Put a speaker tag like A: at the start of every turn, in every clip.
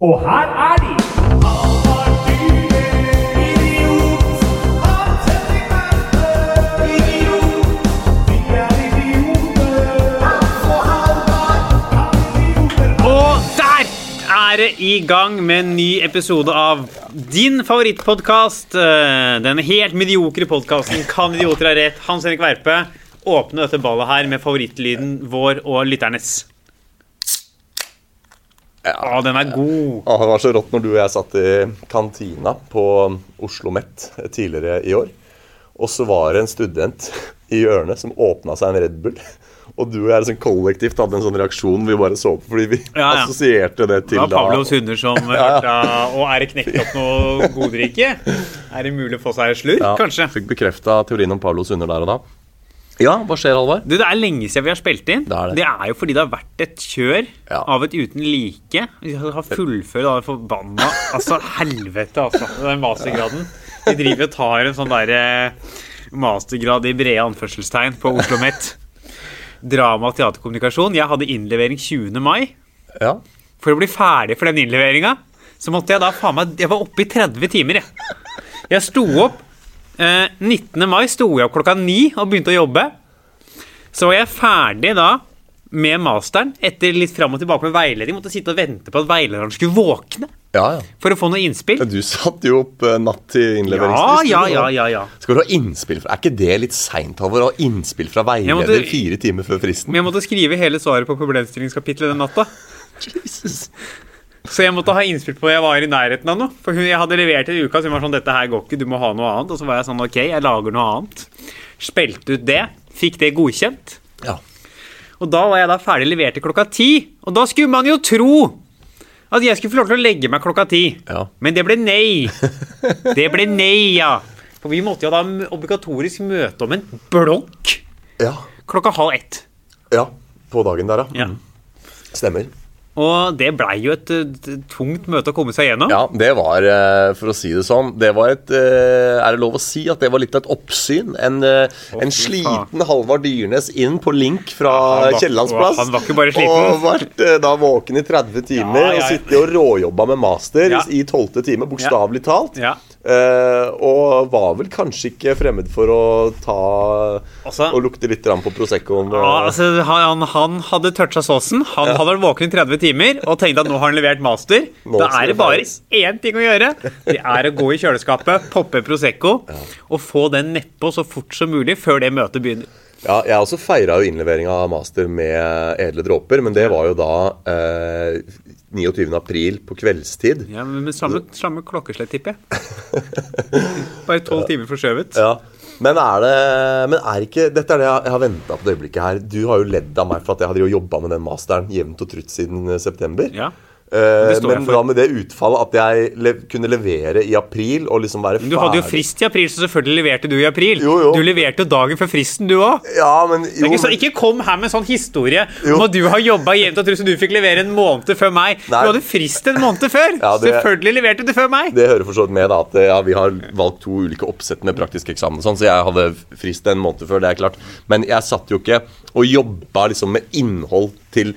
A: Og her er de!
B: Og der er det i gang med en ny episode av din favorittpodkast. Den helt mediokre podkasten Kan idioter ha rett? Hans Henrik Verpe åpne dette ballet her med favorittlyden vår og lytternes. Å, den er god.
C: Ja, Ah, det var så rått når du og jeg satt i kantina på Oslo Met tidligere i år. Og så var det en student i hjørnet som åpna seg en Red Bull. Og du og jeg liksom kollektivt hadde en sånn reaksjon vi bare så på fordi vi
B: Ja, ja.
C: assosierte det
B: Det
C: til
B: var Pavlovs hunder som hørte Og er det knekt opp noe godrike? Er det mulig å få seg en slurk,
C: Ja,
B: kanskje?
C: Fikk bekrefta teorien om Pavlovs hunder der og da. Ja, hva skjer, Halvard?
B: Du, Det er lenge siden vi har spilt inn.
C: Det er det.
B: jo fordi det har vært et kjør
C: Ja.
B: av et uten like. Vi har fullført den forbanna Altså, helvete, altså. Den mastergraden. Vi driver og tar en sånn derre mastergrad i brede anførselstegn på Oslo Met. Drama og teaterkommunikasjon. Jeg hadde innlevering 20. mai.
C: Ja.
B: For å bli ferdig for den innleveringa, så måtte jeg da faen meg Jeg var oppe i 30 timer, jeg. Jeg sto opp eh, 19. mai sto jeg opp klokka ni og begynte å jobbe. Så var jeg ferdig da med masteren etter litt fram og tilbake med veiledning. Måtte sitte og vente på at veilederen skulle våkne
C: ja, ja.
B: for å få noe innspill.
C: Men Du satte jo opp eh, natt til
B: Ja,
C: innleveringsfrist.
B: ja,
C: du,
B: ja,
C: da.
B: ja, ja.
C: Skal du ha innspill fra Er ikke det litt seint, Halvor? Å ha innspill fra
B: Jeg måtte-
C: veileder fire timer før fristen?
B: Men jeg måtte skrive hele svaret på problemstillingskapitlet den natta.
C: Jesus.
B: Så jeg måtte ha innspill på jeg var i nærheten av noe. For hun, jeg hadde levert i uka, så hun var sånn 'Dette her går ikke, du må ha noe annet'. Og så var jeg sånn 'Ok, jeg lager noe annet'. Spilte ut det. Fikk det godkjent.
C: Ja.
B: Og da var jeg da ferdig levert til klokka ti. Og da skulle man jo tro at jeg skulle få lov til å legge meg klokka ti.
C: Ja.
B: Men det ble nei. Det ble nei, ja. For vi måtte jo da m- obligatorisk møte om en blokk
C: ja.
B: klokka halv ett.
C: Ja, på dagen der, ja.
B: Ja.
C: Mm. Stemmer.
B: Og det blei jo et, eh, tungt møte å komme seg gjennom.
C: Ja, det var, eh, for å si det sånn, det var et eh, Er det lov å si at det var litt av et oppsyn? En, eh, en
B: fy
C: sliten Halvard Dyrnes inn på link
B: Ja,
C: fra
B: han var-
C: Kiellands plass.
B: han var ikke bare sliten.
C: Og vært eh, da våken i 30 timer
B: Ja, ja, ja.
C: og sittet og råjobba med master
B: Ja.
C: i 12. time, bokstavelig talt.
B: Ja.
C: Eh, og var vel kanskje ikke fremmed for å ta
B: Altså-
C: og lukte litt grann på Proseccoen.
B: Ja,
C: og-
B: altså, han, han hadde toucha såsen. Han hadde vært våken i 30 timer og tenkte at nå har han levert master.
C: Nå
B: da
C: skal
B: er det
C: det
B: bare
C: feires.
B: én ting å gjøre. Det er å gå i kjøleskapet, poppe Prosecco og få den nedpå så fort som mulig før det møtet begynner.
C: Ja, jeg også feira jo innlevering av master med edle dråper, men det var jo da eh, 29. april på kveldstid.
B: Ja, men men samme, samme klokkeslett, tipper jeg. Bare tolv timer forskjøvet.
C: Ja. Men er det Men er ikke Dette er det jeg jeg har venta på det øyeblikket her. Du har jo ledd av meg for at jeg har jobba med den masteren jevnt og trutt siden eh, september.
B: Ja.
C: Eh,
B: det står jeg
C: men
B: for.
C: da med det utfallet at jeg le kunne levere i april og liksom være
B: Men Du hadde jo frist i april, så selvfølgelig leverte du i april.
C: Jo, jo.
B: Du leverte jo dagen før fristen, du òg.
C: Ja, men jo,
B: Ikke, så,
C: men-
B: ikke kom her med en sånn historie
C: Jo.
B: om at du har jobba jevnt og trutt, så du fikk levere en måned før meg.
C: Nei.
B: Du hadde frist en måned før!
C: Ja, det-
B: Selvfølgelig leverte du før meg!
C: Det hører for så vidt med da, at ja, vi har valgt to ulike oppsett med praktisk eksamen, og sånn, så jeg hadde frist en måned før, det er klart. Men jeg satt jo ikke og jobba liksom med innhold til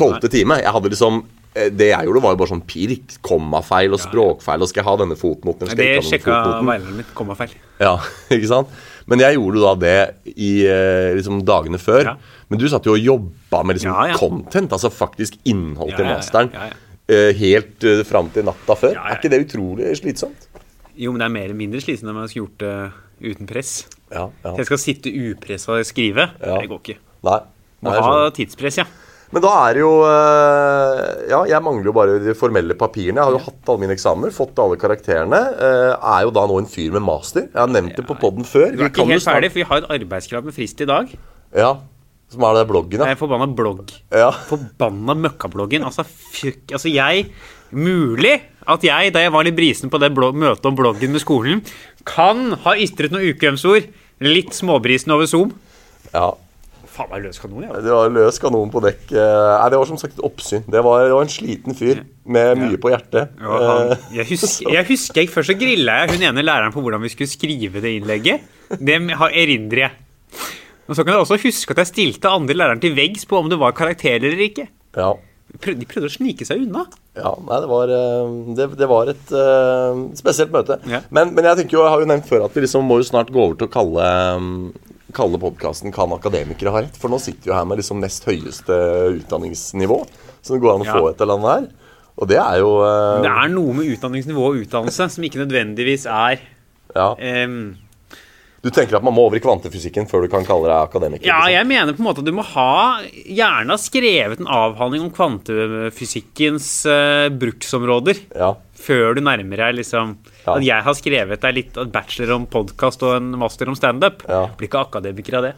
C: tolvte time. Jeg hadde liksom eh, det jeg gjorde, var jo bare sånn pirk, kommafeil og språkfeil, og skal jeg ha denne fotnoten? eller
B: Det
C: skal jeg ikke
B: sjekka
C: ha denne fotnoten?
B: veilederen min. Kommafeil.
C: Ja, ikke sant? Men jeg gjorde jo da det i eh, liksom dagene før.
B: Ja.
C: Men du satt jo og jobba med liksom
B: Ja, ja.
C: content, altså faktisk innhold
B: Ja,
C: til
B: ja, ja,
C: masteren,
B: ja,
C: eh, helt uh, fram til natta før.
B: Ja, ja.
C: Er ikke det utrolig slitsomt?
B: Jo, men det er mer eller mindre slitsomt om jeg skulle gjort det uten press.
C: Ja, ja.
B: Jeg skal sitte upressa og skrive.
C: Ja.
B: Det går ikke.
C: Nei.
B: Må
C: nei, jeg
B: ha
C: skjønner.
B: tidspress, ja.
C: Men da er det jo eh, Ja, jeg mangler jo bare de formelle papirene. Jeg har jo hatt alle mine eksamener, fått alle karakterene. eh, Er jo da nå en fyr med master. Jeg har nevnt det på poden før.
B: Du er
C: kan
B: ikke
C: jo
B: helt
C: snart-
B: ferdig, for vi har et arbeidskrav med frist i dag. Det
C: Ja, Som er det bloggen,
B: er
C: ja.
B: en Eh, forbanna blogg.
C: ja.
B: Forbanna møkkabloggen. Altså, fuck, altså jeg Mulig at jeg, da jeg var litt brisen på det blog- møtet om bloggen med skolen, kan ha ytret noen ukvemsord. Litt småbrisen over Zoom.
C: ja.
B: Faen meg løs kanon, jeg. altså.
C: Det var løs kanon på dekk. eh, Nei, det var som sagt et oppsyn. Det var, det var en sliten fyr med mye på hjertet.
B: Ja, han,
C: Eh,
B: jeg, husker, jeg husker ikke, Først så grilla jeg hun ene læreren på hvordan vi skulle skrive det innlegget. Det har- erindrer jeg. Og så kan jeg også huske at jeg stilte andre læreren til veggs på om det var karakter eller ikke.
C: Ja.
B: prøv- De prøvde å snike seg unna.
C: Ja, nei, det var, eh, det, det var et eh, spesielt møte.
B: Ja.
C: Men, men jeg tenker jo, jeg har jo nevnt før at vi liksom må jo snart gå over til å kalle, eh, kalle podkasten 'Kan akademikere ha rett?' For nå sitter vi jo her med liksom nest høyeste utdanningsnivå som det går an å
B: Ja.
C: få etter landet her. Og det er jo eh,
B: Det er noe med utdanningsnivå og utdannelse som ikke nødvendigvis er ehm,
C: ja.
B: em,
C: Du tenker at man må over i kvantefysikken før du kan kalle deg akademiker?
B: Ja,
C: ikke sant?
B: jeg mener på en måte at du må ha gjerne ha skrevet en avhandling om kvantefysikkens eh, bruksområder
C: ja.
B: før du nærmer deg liksom
C: Ja.
B: At jeg har skrevet deg litt en bachelor om podkast og en master om standup.
C: Ja.
B: Blir ikke akademiker av det.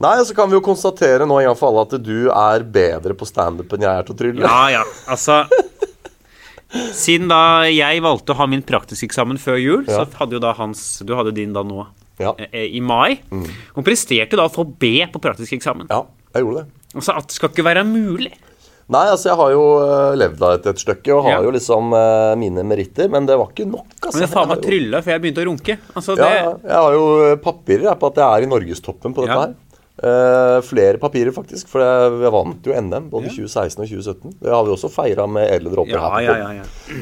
C: Nei, og så kan vi jo konstatere nå i hvert fall at du er bedre på standup enn jeg er til å trylle.
B: Ja, ja, altså Siden da jeg valgte å ha min praktiskeksamen før jul,
C: Ja.
B: så hadde jo da hans Du hadde din da nå.
C: Ja. Mm.
B: eh, I mai. Hun presterte da å få B på praktiskeksamen.
C: ja, jeg gjorde det.
B: Altså at det skal ikke være mulig.
C: Nei, altså jeg har jo øh, levd av et, et stykke og har
B: Ja.
C: jo liksom øh, mine meritter, men det var ikke nok, altså.
B: Men jeg faen meg
C: jeg,
B: trylla før jeg begynte å runke. Altså,
C: har
B: det,
C: jo, ja, jeg har jo øh, papirer jeg, på at jeg er i norgestoppen på dette
B: Ja.
C: her. Eh, flere papirer, faktisk, for jeg, jeg vant jo NM både i 2016 og 2017. Det har vi også feira med edle dråper
B: ja,
C: her. på
B: ja,
C: podden.
B: ja,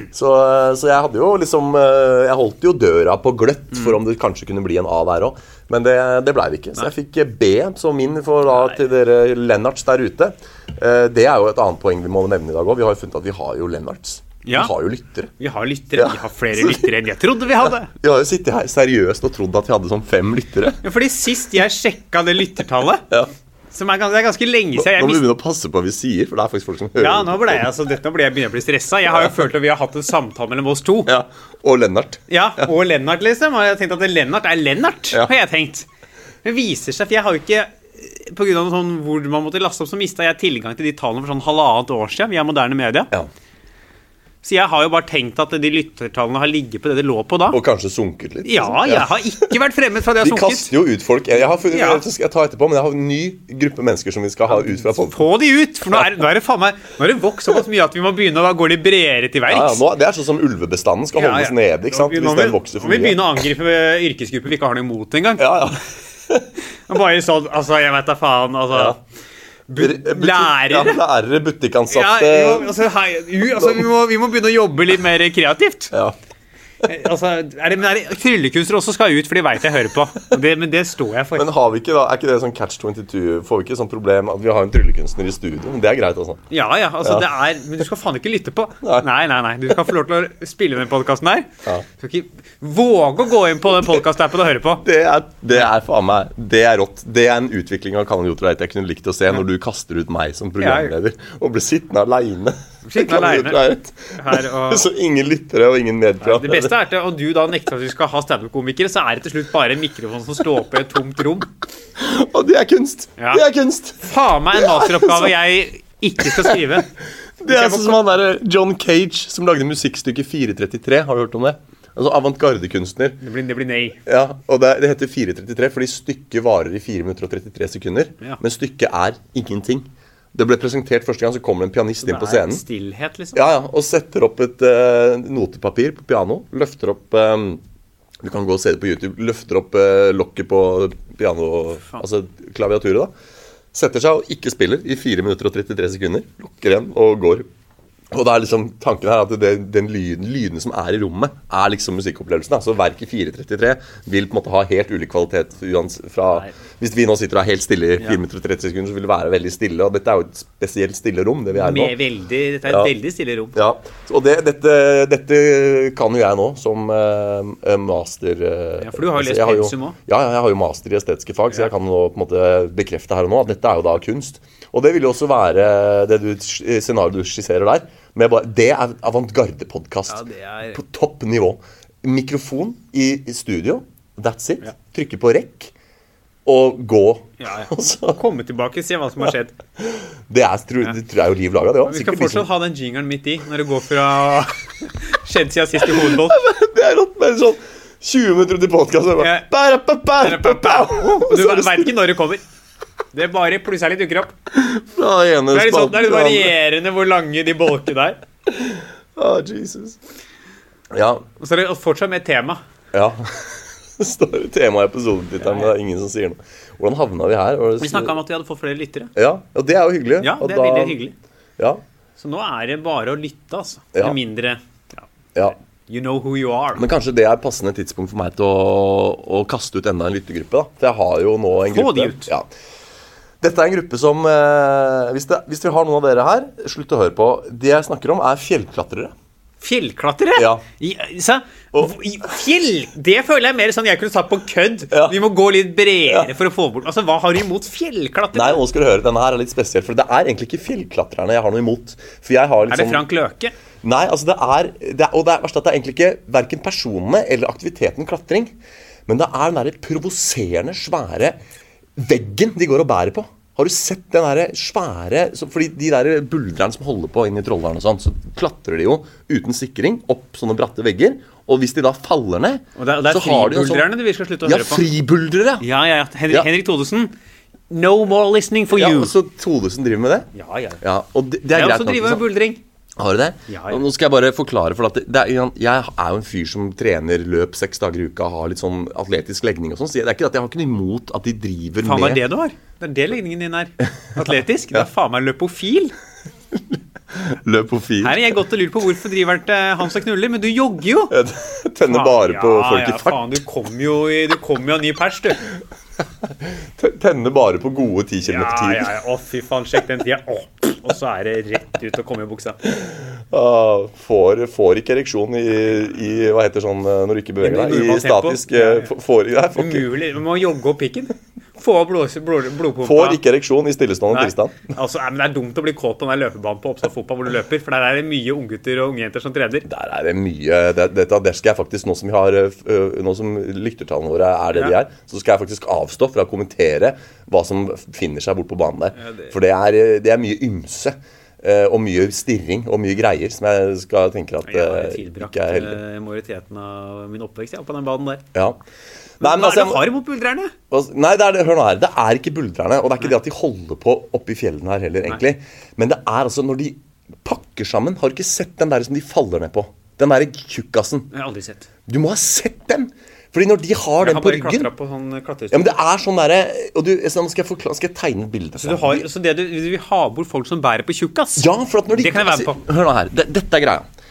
B: ja.
C: Så, øh, så jeg hadde jo liksom øh, Jeg holdt jo døra på gløtt for om det kanskje kunne bli en A der òg, men det, det blei det ikke. Så jeg fikk eh, B som min for da til dere Lennarts der ute. Eh, det er jo et annet poeng vi må nevne i dag òg. Vi har jo funnet at vi har jo Lennarts.
B: Ja.
C: Vi har jo lyttere.
B: Vi har lyttere.
C: Ja.
B: Vi har flere lyttere enn jeg trodde vi hadde.
C: Vi har jo sittet her seriøst og trodd at vi hadde sånn fem lyttere.
B: Ja, Fordi sist jeg sjekka det lyttertallet,
C: Ja.
B: som er ganske, det er ganske lenge siden
C: Nå
B: jeg
C: må vi
B: mistet
C: begynne å passe på hva vi sier, for det er faktisk folk som hører
B: Ja, nå ble jeg, altså, dette ble jeg begynner å bli stressa. Jeg har jo følt at vi har hatt en samtale mellom oss to.
C: Ja. Og Lennart.
B: Ja, og Lennart, liksom. Og jeg har tenkt at Lennart er Lennart,
C: Ja.
B: har jeg tenkt. Men viser seg, for jeg har jo ikke på grunn av noe sånn hvor man måtte laste opp, så mista jeg tilgang til de tallene for sånn halvannet år siden via moderne media.
C: Ja.
B: Så jeg har jo bare tenkt at de lyttertallene har ligget på det det lå på da.
C: Og kanskje sunket litt.
B: Ja, jeg har ikke vært fremmed fra det jeg
C: Vi
B: har sunket.
C: kaster jo ut folk. Jeg, har funnet,
B: Ja.
C: jeg skal ta etterpå, men jeg har en ny gruppe mennesker som vi skal ha ut fra folk.
B: Få de ut! For nå er, nå er det faen meg Nå er det vokst såpass mye at vi må begynne å da går de bredere til
C: Ja, ja,
B: verks.
C: nå, det er sånn som ulvebestanden skal
B: Ja, ja.
C: holdes nede. ikke sant?
B: Nå- nå
C: Hvis
B: må
C: den
B: vi-
C: vokser
B: nå
C: for
B: må Vi
C: mye.
B: begynner å angripe eh, yrkesgrupper vi ikke har noe imot engang.
C: Ja, ja.
B: Og Bare sånn, altså, jeg vet da faen, altså.
C: Ja.
B: Bu-
C: Butikk- Ja,
B: Lærere.
C: lærere,
B: Ja,
C: butikkansatte
B: jo, altså, hei, jo, altså vi, må, vi må begynne å jobbe litt mer kreativt.
C: ja.
B: Eh, Altså, er det, men er det, Tryllekunstnere også skal ut, for de veit jeg hører på. Og Det, men det står jeg for.
C: Men har vi ikke da, er ikke det sånn catch 22? Får vi ikke sånn problem at vi har en tryllekunstner i studio? Men Det er greit, altså.
B: Ja, ja, altså,
C: Ja.
B: Det er, men du skal faen ikke lytte på.
C: Nei.
B: Nei, nei, nei. Du skal få lov til å spille den podkasten her.
C: Ja.
B: Du skal ikke våge å gå inn på den podkast-appen og høre på.
C: Det er, det er faen meg Det er rått. Det er en utvikling av Kanon Jotter Eite jeg kunne likt å se når du kaster ut meg som programleder og blir sittende aleine.
B: Sittende alene. Her og-
C: Så ingen lyttere og ingen medprat.
B: Det beste er at om du da nekter at vi skal ha standup-komikere, så er det til slutt bare en mikrofon som står på i et tomt rom.
C: Og det er kunst!
B: Ja.
C: Det er kunst!
B: Faen meg en
C: Ja,
B: masteroppgave jeg ikke skal skrive.
C: Det er sånn som han der John Cage som lagde musikkstykket 433. Har du hørt om det? Altså Avantgardekunstner.
B: Det blir, det blir nei.
C: Ja, og det, det heter 433 fordi stykket varer i 4 minutter og 33 sekunder.
B: Ja.
C: Men stykket er ingenting. Det ble presentert første gang, så kommer det en pianist
B: Det
C: inn på
B: er
C: scenen.
B: stillhet, liksom.
C: Ja, ja, Og setter opp et eh, notepapir på piano. Løfter opp eh, Du kan gå og se det på YouTube. Løfter opp eh, lokket på piano, altså klaviaturet, da. Setter seg og ikke spiller i 4 minutter og 33 sekunder. Lukker igjen og går. Og det er liksom tanken her at det, den lyden, lyden som er i rommet, er liksom musikkopplevelsen. da. Så verk i 433 vil på en måte ha helt ulik kvalitet uans fra
B: Nei.
C: Hvis vi nå sitter og er helt stille i 4 minutter og 30 sekunder, så vil det være veldig stille. Og dette er jo et spesielt stille rom, det vi er nå.
B: Med veldig, dette er et
C: Ja.
B: veldig stille rom.
C: Ja, og det, dette, dette kan jo jeg nå som eh, master eh,
B: Ja, for du har jo lest
C: jeg jo-
B: pensum også.
C: Ja, ja, jeg har jo master i estetiske fag, så jeg kan nå på en måte bekrefte her og nå at dette er jo da kunst. Og det vil jo også være det du, scenarioet du skisserer der. Med bare, det er
B: Ja,
C: avantgarde-podkast
B: det er-
C: på topp nivå. Mikrofon i, i studio, that's it. Trykke på rekk og gå.
B: Ja, ja.
C: Og så-
B: Komme tilbake, se hva som har skjedd.
C: det, er, tror, det tror jeg er jo liv laga, det òg.
B: Vi skal fortsatt ha den jingeren midt i, når det går fra skjedd siden sist i hovedboll.
C: Det er rått med sånn 20 minutter ut i podkasten
B: Ja. Og du veit
C: Fra
B: ikke når det kommer. Det er bare plutselig dukker opp.
C: den ene
B: Det er litt sånn, det er litt
C: spalten til den andre.
B: varierende hvor lange de bolkene er.
C: Å, Ah, Jesus. Ja.
B: Og så er det fortsatt med tema.
C: ja. Det står i temaet i episodetittelen, men det er ingen som sier noe. Hvordan havna vi her?
B: Vi snakka om at vi hadde fått flere lyttere.
C: Ja, og det er jo hyggelig.
B: Ja,
C: og
B: det er veldig hyggelig.
C: Ja.
B: Så nå er det bare å lytte, altså.
C: Ja.
B: Med mindre ja,
C: Ja.
B: You know who you are.
C: Men kanskje det er passende tidspunkt for meg til å, å kaste ut enda en lyttegruppe. da. For jeg har jo nå en
B: Få
C: gruppe.
B: de ut.
C: Ja. Dette er en gruppe som eh, hvis, det, hvis dere har noen av dere her, slutt å høre på. Det jeg snakker om, er fjellklatrere.
B: Fjellklatrere!
C: Ja.
B: I, sa-
C: Og-
B: i- fjell! Det føler jeg mer sånn jeg kunne tatt på kødd.
C: Ja.
B: Vi må gå litt bredere for å få bort Altså, hva har du imot fjellklatrere?
C: Nei, nå skal du høre, denne her er litt spesiell, for det er egentlig ikke fjellklatrerne jeg har noe imot. For jeg har litt
B: Er det
C: sånn-
B: Frank Løke?
C: Nei, altså det er, det er Og det er verst at det er egentlig ikke verken personene eller aktiviteten klatring, men det er den derre provoserende svære veggen de går og bærer på. Har du sett den derre svære så, Fordi de der buldrerne som holder på inne i Trolldalen og sånn, så klatrer de jo uten sikring opp sånne bratte vegger. Og hvis de da faller ned,
B: Og det er- og det er
C: jo sånn-
B: fribuldrerne vi skal slutte å
C: ja,
B: høre på.
C: fribuldrere!
B: Ja, ja, ja. Henrik,
C: Ja.
B: Henrik Thodesen. No more listening for
C: Ja,
B: you.
C: og så Todesen driver med det?
B: Ja, ja.
C: Ja, og det, det er
B: Jeg
C: greit
B: også
C: nok,
B: driver
C: liksom.
B: med buldring.
C: Har du det?
B: Ja, ja.
C: Nå skal jeg bare forklare, for at det, det er, jeg er jo en fyr som trener løp seks dager i uka, har litt sånn atletisk legning og sånn, så det er ikke at jeg har ikke noe imot at de driver
B: Faen, det
C: med
B: er det du har. Det er det ligningen din er. Atletisk. Det er faen meg løpofil.
C: løp på fil.
B: Her har jeg gått og lurt på hvorfor driver han til Hans og Knuller, men du jogger jo. Ah,
C: Tenner bare på
B: Ja,
C: folk
B: ja,
C: i fart.
B: Faen, du kom jo i du kom jo av ny pers, du.
C: Te- Tenner bare på gode 10 km
B: Ja,
C: tider.
B: ja, ja. Å, fy faen, sjekk den tida. Å, og så er det rett ut og komme i buksa.
C: Ah, får, får ikke ereksjon i, i Hva heter sånn eh, når du ikke beveger
B: I
C: deg? I
B: normalt tempo.
C: statisk eh,
B: Ja, ja.
C: f- får, nei, får, ikke,
B: Umulig. Du må jogge opp pikken. Få av blod, blod, blodpumpa.
C: får ikke ereksjon i stillestående
B: Nei.
C: tilstand.
B: Altså, nei, men Det er dumt å bli kåt på den der løpebanen på Oppsal fotball hvor du løper, for der er det mye unggutter og ungjenter som trener.
C: Der er det mye det, dette, Der skal jeg faktisk, nå som, vi har, øh, øh, nå som lyttertallene våre er det de
B: Ja.
C: er, så skal jeg faktisk avstå fra å kommentere hva som finner seg bort på banen der.
B: Ja, det-
C: For det er, øh, det er mye ymse. øh, Og mye stirring og mye greier som jeg skal tenker at
B: Jeg har
C: øh,
B: tilbrakt
C: ikke er heldig.
B: eh, majoriteten av min oppvekst ja, på den banen der.
C: Ja. Nei,
B: Hva er
C: men altså,
B: det du
C: jeg,
B: har imot buldrerne?
C: altså, nei det er, det- hør nå her. Det er ikke buldrerne. Og det er ikke det at de holder på oppe i fjellene her heller, egentlig. Men det er altså når de pakker sammen Har du ikke sett den der som de faller ned på? Den derre tjukkasen.
B: Jeg har aldri sett.
C: Du må ha sett den! Fordi når de har
B: Jeg
C: den
B: har
C: på
B: bare
C: ryggen
B: klatra på sånn
C: ja, men
B: klatrestyr.
C: det er sånn derre Og du, jeg skal, skal, jeg forklare, skal jeg tegne et bilde?
B: Så, du har, så det du, du vil ha bort folk som bærer på tjukkas?
C: Ja, for at når de
B: Det kan jeg være med på.
C: Altså, Hør nå her. Det, dette er greia.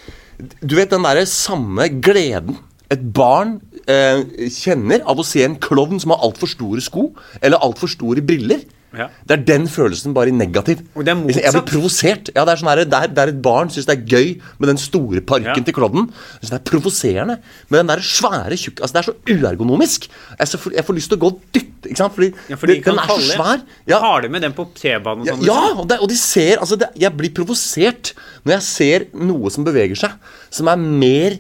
C: Du vet den derre samme gleden et barn eh, kjenner av å se en klovn som har altfor store sko eller altfor store briller.
B: Ja.
C: Det er den følelsen, bare i negativ.
B: Og det er
C: Liksom, Jeg blir
B: motsatt.
C: provosert. Ja, det er sånn her, der, der et barn syns det er gøy med den store parken
B: Ja.
C: til klovnen. Jeg synes Det er provoserende. Men den der svære tjukke altså, Det er så uergonomisk. Jeg, så, jeg får lyst til å gå og dytte, ikke sant? Fordi,
B: Ja, for de
C: det-
B: kan
C: den er så
B: falle.
C: svær. Ja.
B: Har du med den på T-banen? og
C: Ja,
B: sånn,
C: ja
B: liksom?
C: og, det, og de ser Altså, det, jeg blir provosert når jeg ser noe som beveger seg, som er mer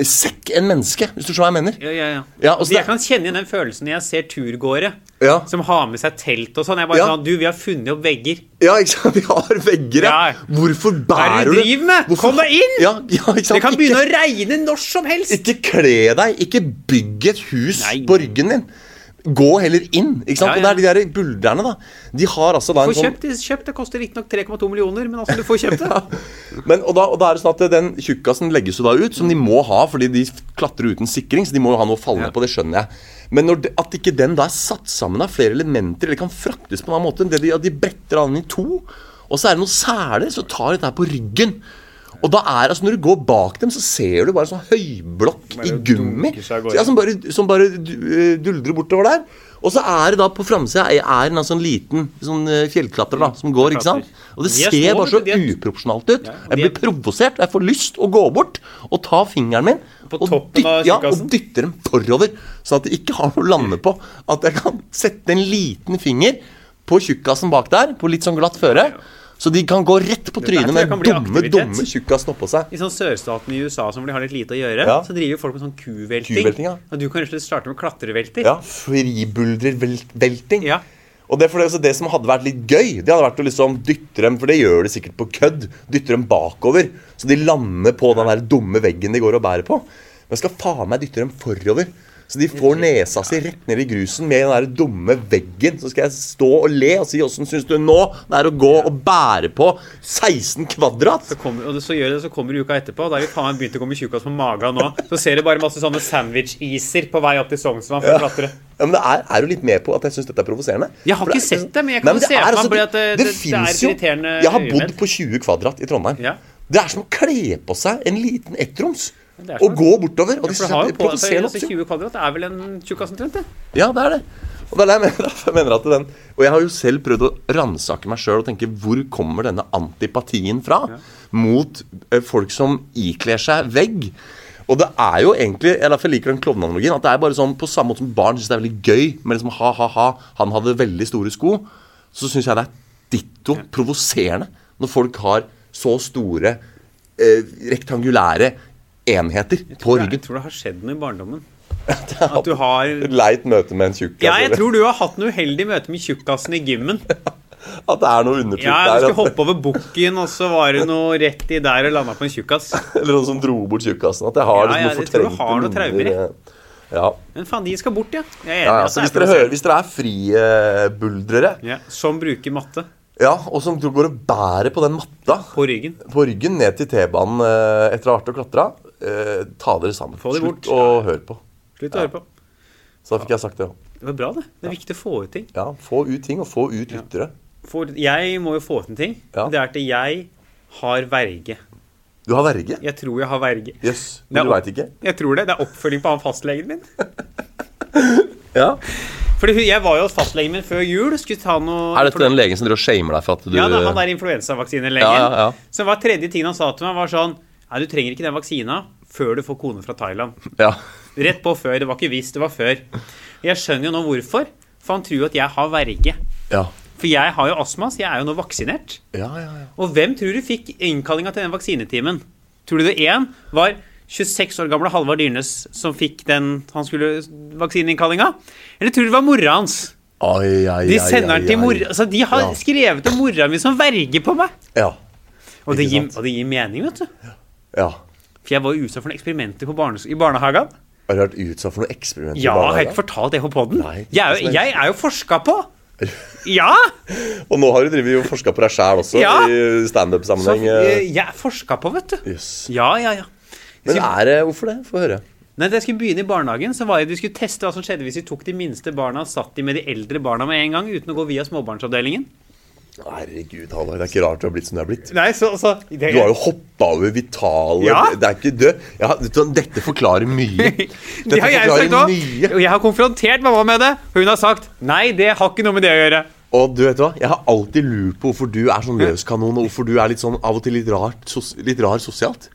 C: sekk enn menneske, hvis du skjønner hva jeg mener.
B: Ja, ja, ja.
C: Ja, og så
B: Så jeg
C: det-
B: kan kjenne igjen den følelsen når jeg ser turgåere
C: Ja.
B: som har med seg telt og sånn. Jeg bare
C: Ja.
B: sånn Du, vi har funnet opp vegger.
C: Ja, ikke sant? De har vegger, ja.
B: Ja.
C: Hvorfor bærer
B: du driver med? Kom deg inn!
C: Ja, ja, ikke sant?
B: Det kan begynne
C: ikke,
B: å regne når som helst!
C: ikke kle deg, ikke bygg et hus
B: Nei.
C: på ryggen din. Gå heller inn. ikke sant?
B: Ja, ja.
C: Og det er de der buldrerne, da. De har altså da
B: Få
C: en sånn
B: kjøpt, det- kjøpt, det koster riktignok 3,2 millioner, men altså, du får kjøpt det.
C: Men, og, da, og da er det sånn at Den tjukkasen legges jo da ut, som de må ha fordi de klatrer uten sikring. Så de må jo ha noe å falle ned på, det skjønner jeg. Men når det, at ikke den da er satt sammen av flere elementer, eller kan fraktes på en annen måte enn det de, at de bretter den i to, og så er det noen seler, så tar dette her på ryggen. Og da er altså Når du går bak dem, så ser du bare sånn høyblokk i gummi
B: dunker seg av gårde.
C: Så, ja, som bare, som bare du- eh, duldrer bortover der. Og så er det da på framsida er er en sånn liten sånn eh, fjellklatrer da, som går. ikke sant? Og det
B: De er
C: ser
B: små,
C: bare så
B: vet du, de er-
C: uproporsjonalt ut.
B: og
C: Jeg
B: de-
C: blir provosert, og jeg får lyst å gå bort og ta fingeren min
B: På
C: og,
B: toppen av
C: ja, og
B: tjukkasen?
C: dytte dem forover, sånn at de ikke har noe å lande på. At jeg kan sette en liten finger på tjukkasen bak der, på litt sånn glatt føre, så de kan gå rett på
B: her
C: trynet
B: tror
C: med
B: jeg
C: den
B: kan bli
C: dumme,
B: aktivitet.
C: dumme tjukkasen oppå seg.
B: I sånn sørstaten i USA som hvor de har litt lite å gjøre,
C: Ja.
B: så driver jo folk med sånn kuvelting.
C: Kuvelting, ja.
B: Og du kan rett og slett starte med klatrevelter.
C: Ja, fribuldrervelting.
B: Ja.
C: Og det, er for det, altså det som hadde vært litt gøy, det hadde vært å liksom dytte dem For det gjør de sikkert på kødd. Dytte dem bakover, så de lander på den der dumme veggen de går og bærer på. Men jeg skal faen meg dytte dem forover, Så de får nesa si rett ned i grusen med den der dumme veggen. Så skal jeg stå og le og si åssen syns du nå det er å gå og bære på 16 kvadrat?
B: Så kommer, og så gjør det, så kommer du uka etterpå, og da er vi faen meg begynt å komme tjukkas på magen nå. Så ser du bare masse sånne sandwich-iser på vei opp til Sognsvann for å klatre.
C: Ja, men det er, er du litt med på at jeg syns dette er provoserende?
B: Jeg har
C: For
B: ikke sett det, men jeg kan
C: det
B: se
C: er
B: for meg
C: altså-
B: bare at det- det- det er
C: finnes
B: et
C: jo-
B: irriterende
C: Jeg har
B: øyemed.
C: bodd på 20 kvadrat i Trondheim.
B: Ja.
C: Det er som å kle på seg en liten ettroms
B: det er som-
C: og gå bortover. Og
B: For
C: de synes
B: det har
C: at
B: jo
C: det
B: på, altså,
C: provoserer
B: altså,
C: oppsyn.
B: 20 kvadrat er vel en tjukkas omtrent, det?
C: Ja, det er det. Og det er det jeg mener, derfor jeg mener at den Og jeg har jo selv prøvd å ransake meg sjøl og tenke hvor kommer denne antipatien fra mot eh, folk som ikler seg vegg. Og det er jo egentlig jeg derfor liker den klovneanalogien. At det er bare sånn på samme måte som barn syns det er veldig gøy med liksom ha-ha-ha, han hadde veldig store sko, så syns jeg det er ditto provoserende når folk har så store eh, rektangulære enheter på
B: Jeg
C: ryggen.
B: tror det har skjedd noe i barndommen. At du har
C: Et leit møte med en tjukk.
B: Ja, jeg
C: altså.
B: tror du har hatt noe uheldig møte med tjukkasen i gymmen.
C: At det er noe undertrykt
B: Ja, Du
C: der.
B: skulle
C: at-
B: hoppe over bukken, og så var det noe rett i der og landa på en tjukkas.
C: Eller noen som dro bort tjukkasen. At jeg har
B: Ja,
C: liksom
B: ja, jeg tror du
C: fortrengte
B: har noen traumer,
C: minner,
B: jeg.
C: eh, Ja.
B: Men faen, de skal bort, ja. Jeg er enig.
C: Ja, ja,
B: at
C: så
B: det
C: hvis
B: er
C: dere, hører,
B: provoserende.
C: hvis dere er fribuldrere,
B: ja, Som bruker matte
C: ja, og som går og bærer på den matta
B: på ryggen.
C: på ryggen ned til T-banen eh, etter å ha vært og klatra, eh, ta dere sammen.
B: Få det bort.
C: Slutt å høre på.
B: Slutt å høre på.
C: Så da fikk jeg sagt det òg.
B: Det var bra, det. Det er viktig å få ut ting.
C: Ja, få ut ting, og få ut lyttere.
B: For jeg må jo få ut en ting.
C: Ja.
B: Det er at jeg har verge.
C: Du har verge? Jøss.
B: Jeg tror jeg har verge.
C: Yes,
B: Det
C: men
B: er
C: du
B: opp-
C: veit ikke?
B: Jeg tror det. Det er oppfølging på han fastlegen min.
C: Ja.
B: Fordi hun- jeg var jo hos fastlegen min før jul. Skulle ta noe
C: Er dette den legen som driver og shamer deg for at du
B: Ja, da, han der influensavaksinelegen.
C: Ja, ja, ja.
B: Så var tredje tingen han sa til meg, var sånn Nei, du trenger ikke den vaksina før du får kone fra Thailand.
C: Ja.
B: Rett på før. Det var ikke hvis, det var før. Jeg skjønner jo nå hvorfor. For han tror jo at jeg har verge.
C: Ja.
B: For jeg har jo astma, så jeg er jo nå vaksinert.
C: Ja, ja, ja.
B: Og hvem tror du fikk innkallinga til den vaksinetimen? Tror du det én var 26 år gamle Halvard Dyrnes som fikk den han skulle vaksineinnkallinga? Eller tror du det var mora hans?
C: Ai, ai,
B: De
C: ai,
B: sender
C: ai,
B: den til
C: ai.
B: mora Altså, de har
C: Ja.
B: skrevet om mora mi som verge på meg!
C: Ja.
B: Og det,
C: Ikke
B: gir,
C: sant?
B: og det gir mening, vet du.
C: ja.
B: For jeg var jo utsatt for noen eksperimenter på barnes i barnehagen.
C: Har du vært utsatt for noe eksperiment? i
B: Ja, har jeg
C: barnehagen?
B: ikke fortalt det på poden?
C: Nei, ikke
B: Jeg, er jo-
C: så-
B: jeg er jo forska på! Ja!
C: Og nå har du drevet og forska på deg sjæl også,
B: Ja.
C: i
B: Så,
C: standup-sammenheng.
B: eh,
C: eh.
B: jeg er forska på, vet du.
C: Jøss.
B: Ja, ja, ja.
C: Men er det Hvorfor det? Få høre.
B: Nei, Da jeg skulle begynne i barnehagen, så var jeg, de skulle teste hva som skjedde hvis de tok de minste barna og satt de med de eldre barna med en gang, uten å gå via småbarnsavdelingen.
C: Herregud, Halvor. Det er ikke rart du har blitt som du har blitt.
B: Nei, så, så det,
C: Du har jo hoppa over vitale
B: Ja.
C: Det er ikke død. Ja, vet du hva, dette forklarer mye. Dette
B: Det har jeg sagt òg.
C: mye.
B: Og jeg har konfrontert mamma med det. Og hun har sagt nei, det har ikke noe med det å gjøre.
C: Og du vet hva, jeg har alltid lurt på hvorfor du er sånn løskanon, og hvorfor du er litt sånn av og til litt, rart, sos litt rar sosialt.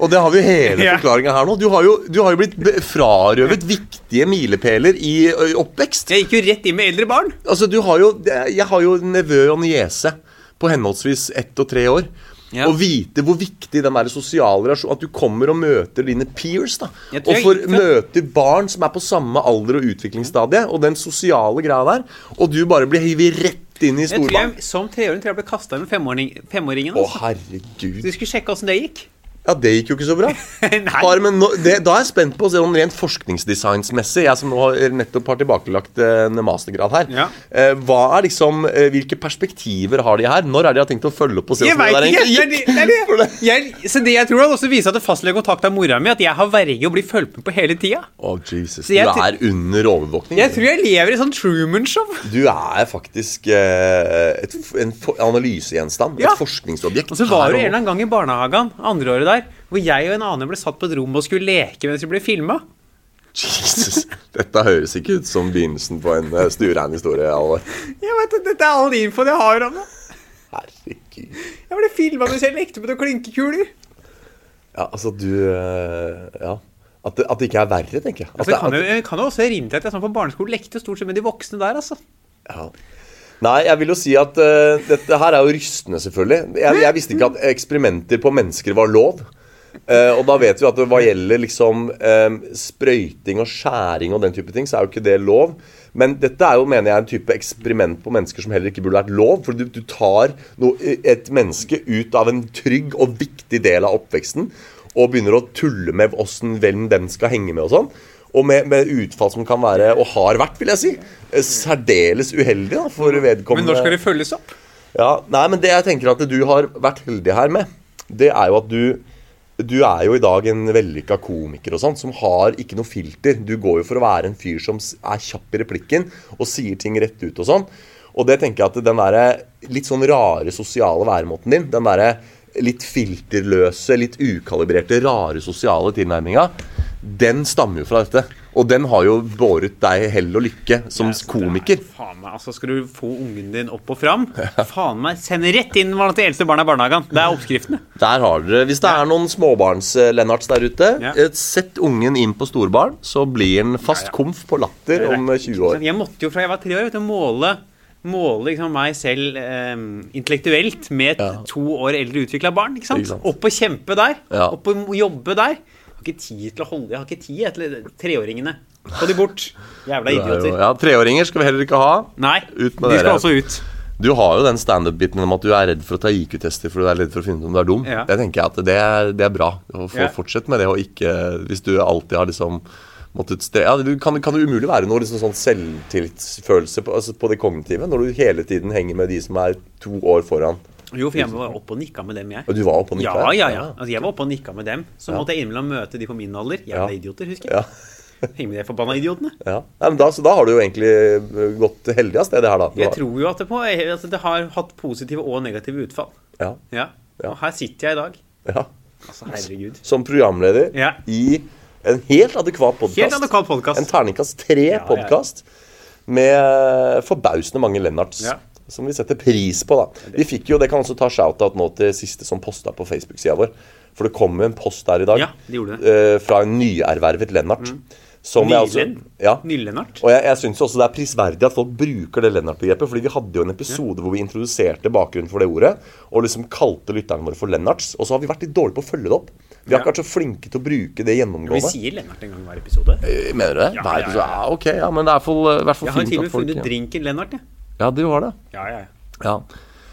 C: Og det har vi jo hele
B: Ja.
C: forklaringa her nå. Du har jo, du har jo blitt be- frarøvet viktige milepæler i ø, oppvekst.
B: Jeg gikk jo rett inn med eldre barn.
C: Altså, du har jo Jeg har jo nevø og niese på henholdsvis ett og tre år.
B: Ja.
C: Å vite hvor viktig den der sosiale relasjonen At du kommer og møter dine peers. da
B: Jeg tror
C: Og
B: jeg
C: får
B: gikk fra-
C: møter barn som er på samme alder og utviklingsstadie, og den sosiale greia der, og du bare blir hivet rett inn i
B: Jeg tror
C: storbarn.
B: jeg som treåring tror jeg ble kasta med femåring, femåringen.
C: Å,
B: Altså.
C: herregud.
B: Du skulle sjekke åssen det gikk.
C: Ja, det gikk jo ikke så bra.
B: Nei.
C: Har, men nå, det, da er jeg spent på å se om rent forskningsdesignsmessig, jeg som nå har nettopp har tilbakelagt eh, en mastergrad her,
B: Ja.
C: eh, hva er liksom, eh, hvilke perspektiver har de her? Når er de har tenkt å følge opp og se
B: Jeg
C: hvordan
B: veit
C: det
B: ikke. Det
C: der
B: er det-
C: egentlig gikk?
B: det er
C: For
B: det.
C: det-
B: Jeg- Så det jeg tror han også viser at fastlegekontakta mora mi, at jeg har verge og blir fulgt med på hele tida.
C: Å, Jesus. Du
B: jeg
C: er under overvåkning.
B: Jeg tror jeg lever i sånn Truman-show.
C: Du er faktisk eh, et, f- en for- analysegjenstand.
B: Ja.
C: Et forskningsobjekt.
B: Og så var
C: her
B: det en
C: og-
B: eller annen gang i barnehagen andre året der, hvor jeg og en annen ble satt på et rom og skulle leke mens vi ble filma.
C: Jesus. Dette høres ikke ut som begynnelsen på en eh, stuerein historie. Alvar.
B: Jeg vet, at Dette er all infoen jeg har om det.
C: Herregud.
B: Jeg ble filma mens jeg lekte med noen klinkekuler.
C: Ja, altså du eh, Ja. At det, at det ikke er verre, tenker jeg. At
B: Altså, jeg kan
C: det,
B: jo, jeg kan jo også erindre at jeg sånn på barneskolen lekte stort sett med de voksne der, altså.
C: at, ja. Nei, jeg vil jo si at eh, dette her er jo rystende, selvfølgelig. Jeg, jeg visste ikke at eksperimenter på mennesker var lov. Eh, og da vet vi at hva gjelder liksom eh, sprøyting og skjæring og den type ting, så er jo ikke det lov. Men dette er jo, mener jeg, en type eksperiment på mennesker som heller ikke burde vært lov. For du, du tar noe, et menneske ut av en trygg og viktig del av oppveksten og begynner å tulle med åssen hvem den skal henge med og sånn. Og med, med utfall som kan være, og har vært, vil jeg si, eh, særdeles uheldig da, for
B: Men når skal
C: vedkommende.
B: de følges opp?
C: Ja, nei, men det jeg tenker at du har vært heldig her med, det er jo at du du er jo i dag en vellykka komiker og sånn, som har ikke noe filter. Du går jo for å være en fyr som s- er kjapp i replikken og sier ting rett ut og sånn. Og det tenker jeg at den derre litt sånn rare sosiale væremåten din, den derre litt filterløse, litt ukalibrerte, rare sosiale tilnærminga, den stammer jo fra dette. Og den har jo båret deg hell og lykke som
B: Altså, det er-
C: komiker.
B: Faen meg, altså Skal du få ungen din opp og fram? Faen meg, Send rett inn barna til eldste barna i barnehagen. Det er oppskriftene.
C: Der har dere, Hvis det er noen småbarns-Lennarts der ute,
B: Ja.
C: eh, sett ungen inn på storbarn, så blir han fast komf på latter om eh, 20 år.
B: Jeg måtte jo fra jeg var tre år, vet du, måle, måle liksom meg selv eh, intellektuelt med et
C: Ja.
B: to år eldre utvikla barn. ikke sant?
C: Ikke sant.
B: Opp og kjempe der.
C: Ja.
B: Opp og jobbe der. Jeg har ikke tid til å holde Jeg har ikke tid jeg, til treåringene. Få de bort. Jævla
C: Det er jo-
B: idioter.
C: Ja, Treåringer skal vi heller ikke ha.
B: Nei, de
C: Ut med
B: skal
C: dere.
B: også ut.
C: Du har jo den standup-biten om at du er redd for å ta IQ-tester fordi du er redd for å finne ut om du er dum.
B: Ja.
C: Det tenker jeg at det er, det er bra. Og få
B: Ja.
C: Fortsett med det, og ikke Hvis du alltid har liksom måttet stre ja, du, kan, kan det umulig være noe liksom sånn selvtillitsfølelse på, altså på det kognitive når du hele tiden henger med de som er to år foran?
B: Jo, for jeg var oppe og nikka med dem, jeg.
C: Og du var oppe og nikka?
B: Ja, ja, ja. Altså, jeg var oppe og nikka med dem. Så
C: Ja.
B: måtte jeg innimellom møte de på min alder. Jævla
C: Ja.
B: idioter, husker jeg.
C: ja.
B: Henge med de forbanna idiotene.
C: Ja. Nei, men da, så da har du jo egentlig eh, gått heldig av sted, det her, da. Du
B: Jeg
C: har-
B: tror jo at det, på, altså, det har hatt positive og negative utfall.
C: Ja.
B: Ja.
C: Ja.
B: Og her sitter jeg i dag.
C: ja.
B: Altså, herregud.
C: Som programleder
B: Ja.
C: i en helt adekvat podkast.
B: Helt adekvat podcast.
C: En terningkast tre-podkast med forbausende mange Lennarts.
B: Ja.
C: Som vi setter pris på, da. Vi fikk jo, Det kan også ta shout-out nå til siste som posta på Facebook-sida vår. For det kom en post der i dag
B: Ja, det gjorde det. Mm.
C: eh, fra en nyervervet Lennart. Som jeg også-
B: Nylen.
C: Ja.
B: Nyllenart.
C: Og jeg, jeg synes også det er prisverdig at folk bruker det Lennart-begrepet. fordi vi hadde jo en episode hvor vi introduserte bakgrunnen for det ordet. Og liksom kalte lytterne våre for Lennarts. Og så har vi vært litt dårlige på å følge det opp. Vi har
B: Ja.
C: ikke vært så flinke til å bruke det
B: Vi
C: gjennomgående.
B: sier Lennart en gang hver episode.
C: Eh, Mener du det?
B: Ja,
C: Nei,
B: ja,
C: så- ja, ok, ja, men det er for, i hvert fall
B: Jeg har
C: fint
B: til og
C: at
B: med
C: folk
B: funnet drinken Lennart, jeg.
C: Ja, du har det.
B: Ja, ja, ja.
C: Ja.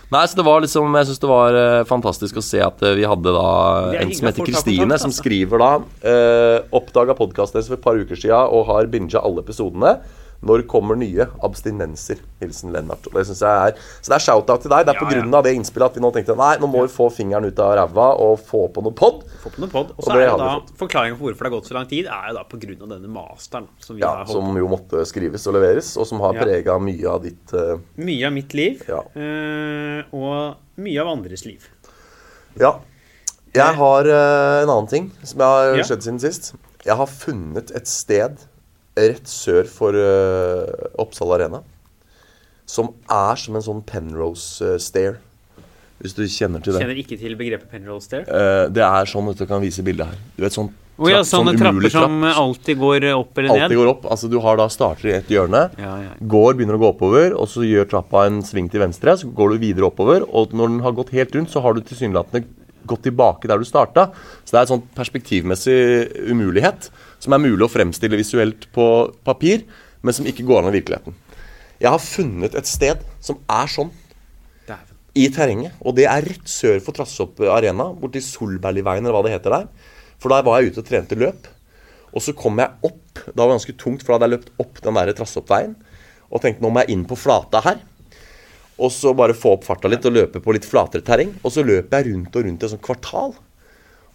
C: Nei, så det var liksom, Jeg syns det var eh, fantastisk å se at eh, vi hadde da
B: Det er
C: en
B: hyggelig
C: som
B: at
C: heter
B: folk tar
C: Kristine,
B: kontakt,
C: som
B: altså.
C: skriver da uh, Oppdaga podkasten deres for et par uker sia og har binga alle episodene. Når kommer nye abstinenser? Hilsen Lennart. Og det synes jeg er, så det er shout-out til deg. Det
B: Ja,
C: er på
B: ja.
C: grunn av det innspillet at vi nå tenkte nei, nå må vi få fingeren ut av ræva og få på noe pod.
B: Få på noen pod. Og
C: Og
B: så
C: det
B: er jo
C: har vi
B: da forklaringen på hvorfor det har gått så lang tid, er jo da på grunn av denne masteren som vi
C: Ja,
B: har holdt
C: som jo måtte skrives og leveres, og som har
B: Ja.
C: preget prega mye av ditt eh,
B: Mye av mitt liv,
C: Ja.
B: eh, og mye av andres liv.
C: Ja. Jeg har eh, en annen ting som jeg har
B: Ja.
C: skjedd siden sist. Jeg har funnet et sted rett sør for eh, Oppsal Arena som er som en sånn Penrose eh, stair. Hvis du kjenner til det.
B: Kjenner ikke til begrepet Penroll Stair.
C: Eh, det er sånn at du kan vise bildet her. Du vet, sånn,
B: Å ja,
C: trapp-
B: sånne
C: sånn
B: trapper
C: umulig trapp
B: som alltid går opp eller ned.
C: alltid går opp. Altså, du har da starter i et hjørne,
B: Ja, ja.
C: går, begynner å gå oppover, og så gjør trappa en sving til venstre, så går du videre oppover, og når den har gått helt rundt, så har du tilsynelatende gått tilbake der du starta. Så det er en sånn perspektivmessig umulighet, som er mulig å fremstille visuelt på papir, men som ikke går an i virkeligheten. Jeg har funnet et sted som er sånn
B: Dæven.
C: i terrenget. Og det er rett sør for Trassopp Arena, borti Solbergveien eller hva det heter der. For der var jeg ute og trente løp. Og så kom jeg opp, det var ganske tungt, for da hadde jeg løpt opp den der Trassoppveien. Og tenkte nå må jeg inn på flata her. Og så bare få opp farta litt og løpe på litt flatere terreng. Og så løper jeg rundt og rundt i et sånt kvartal.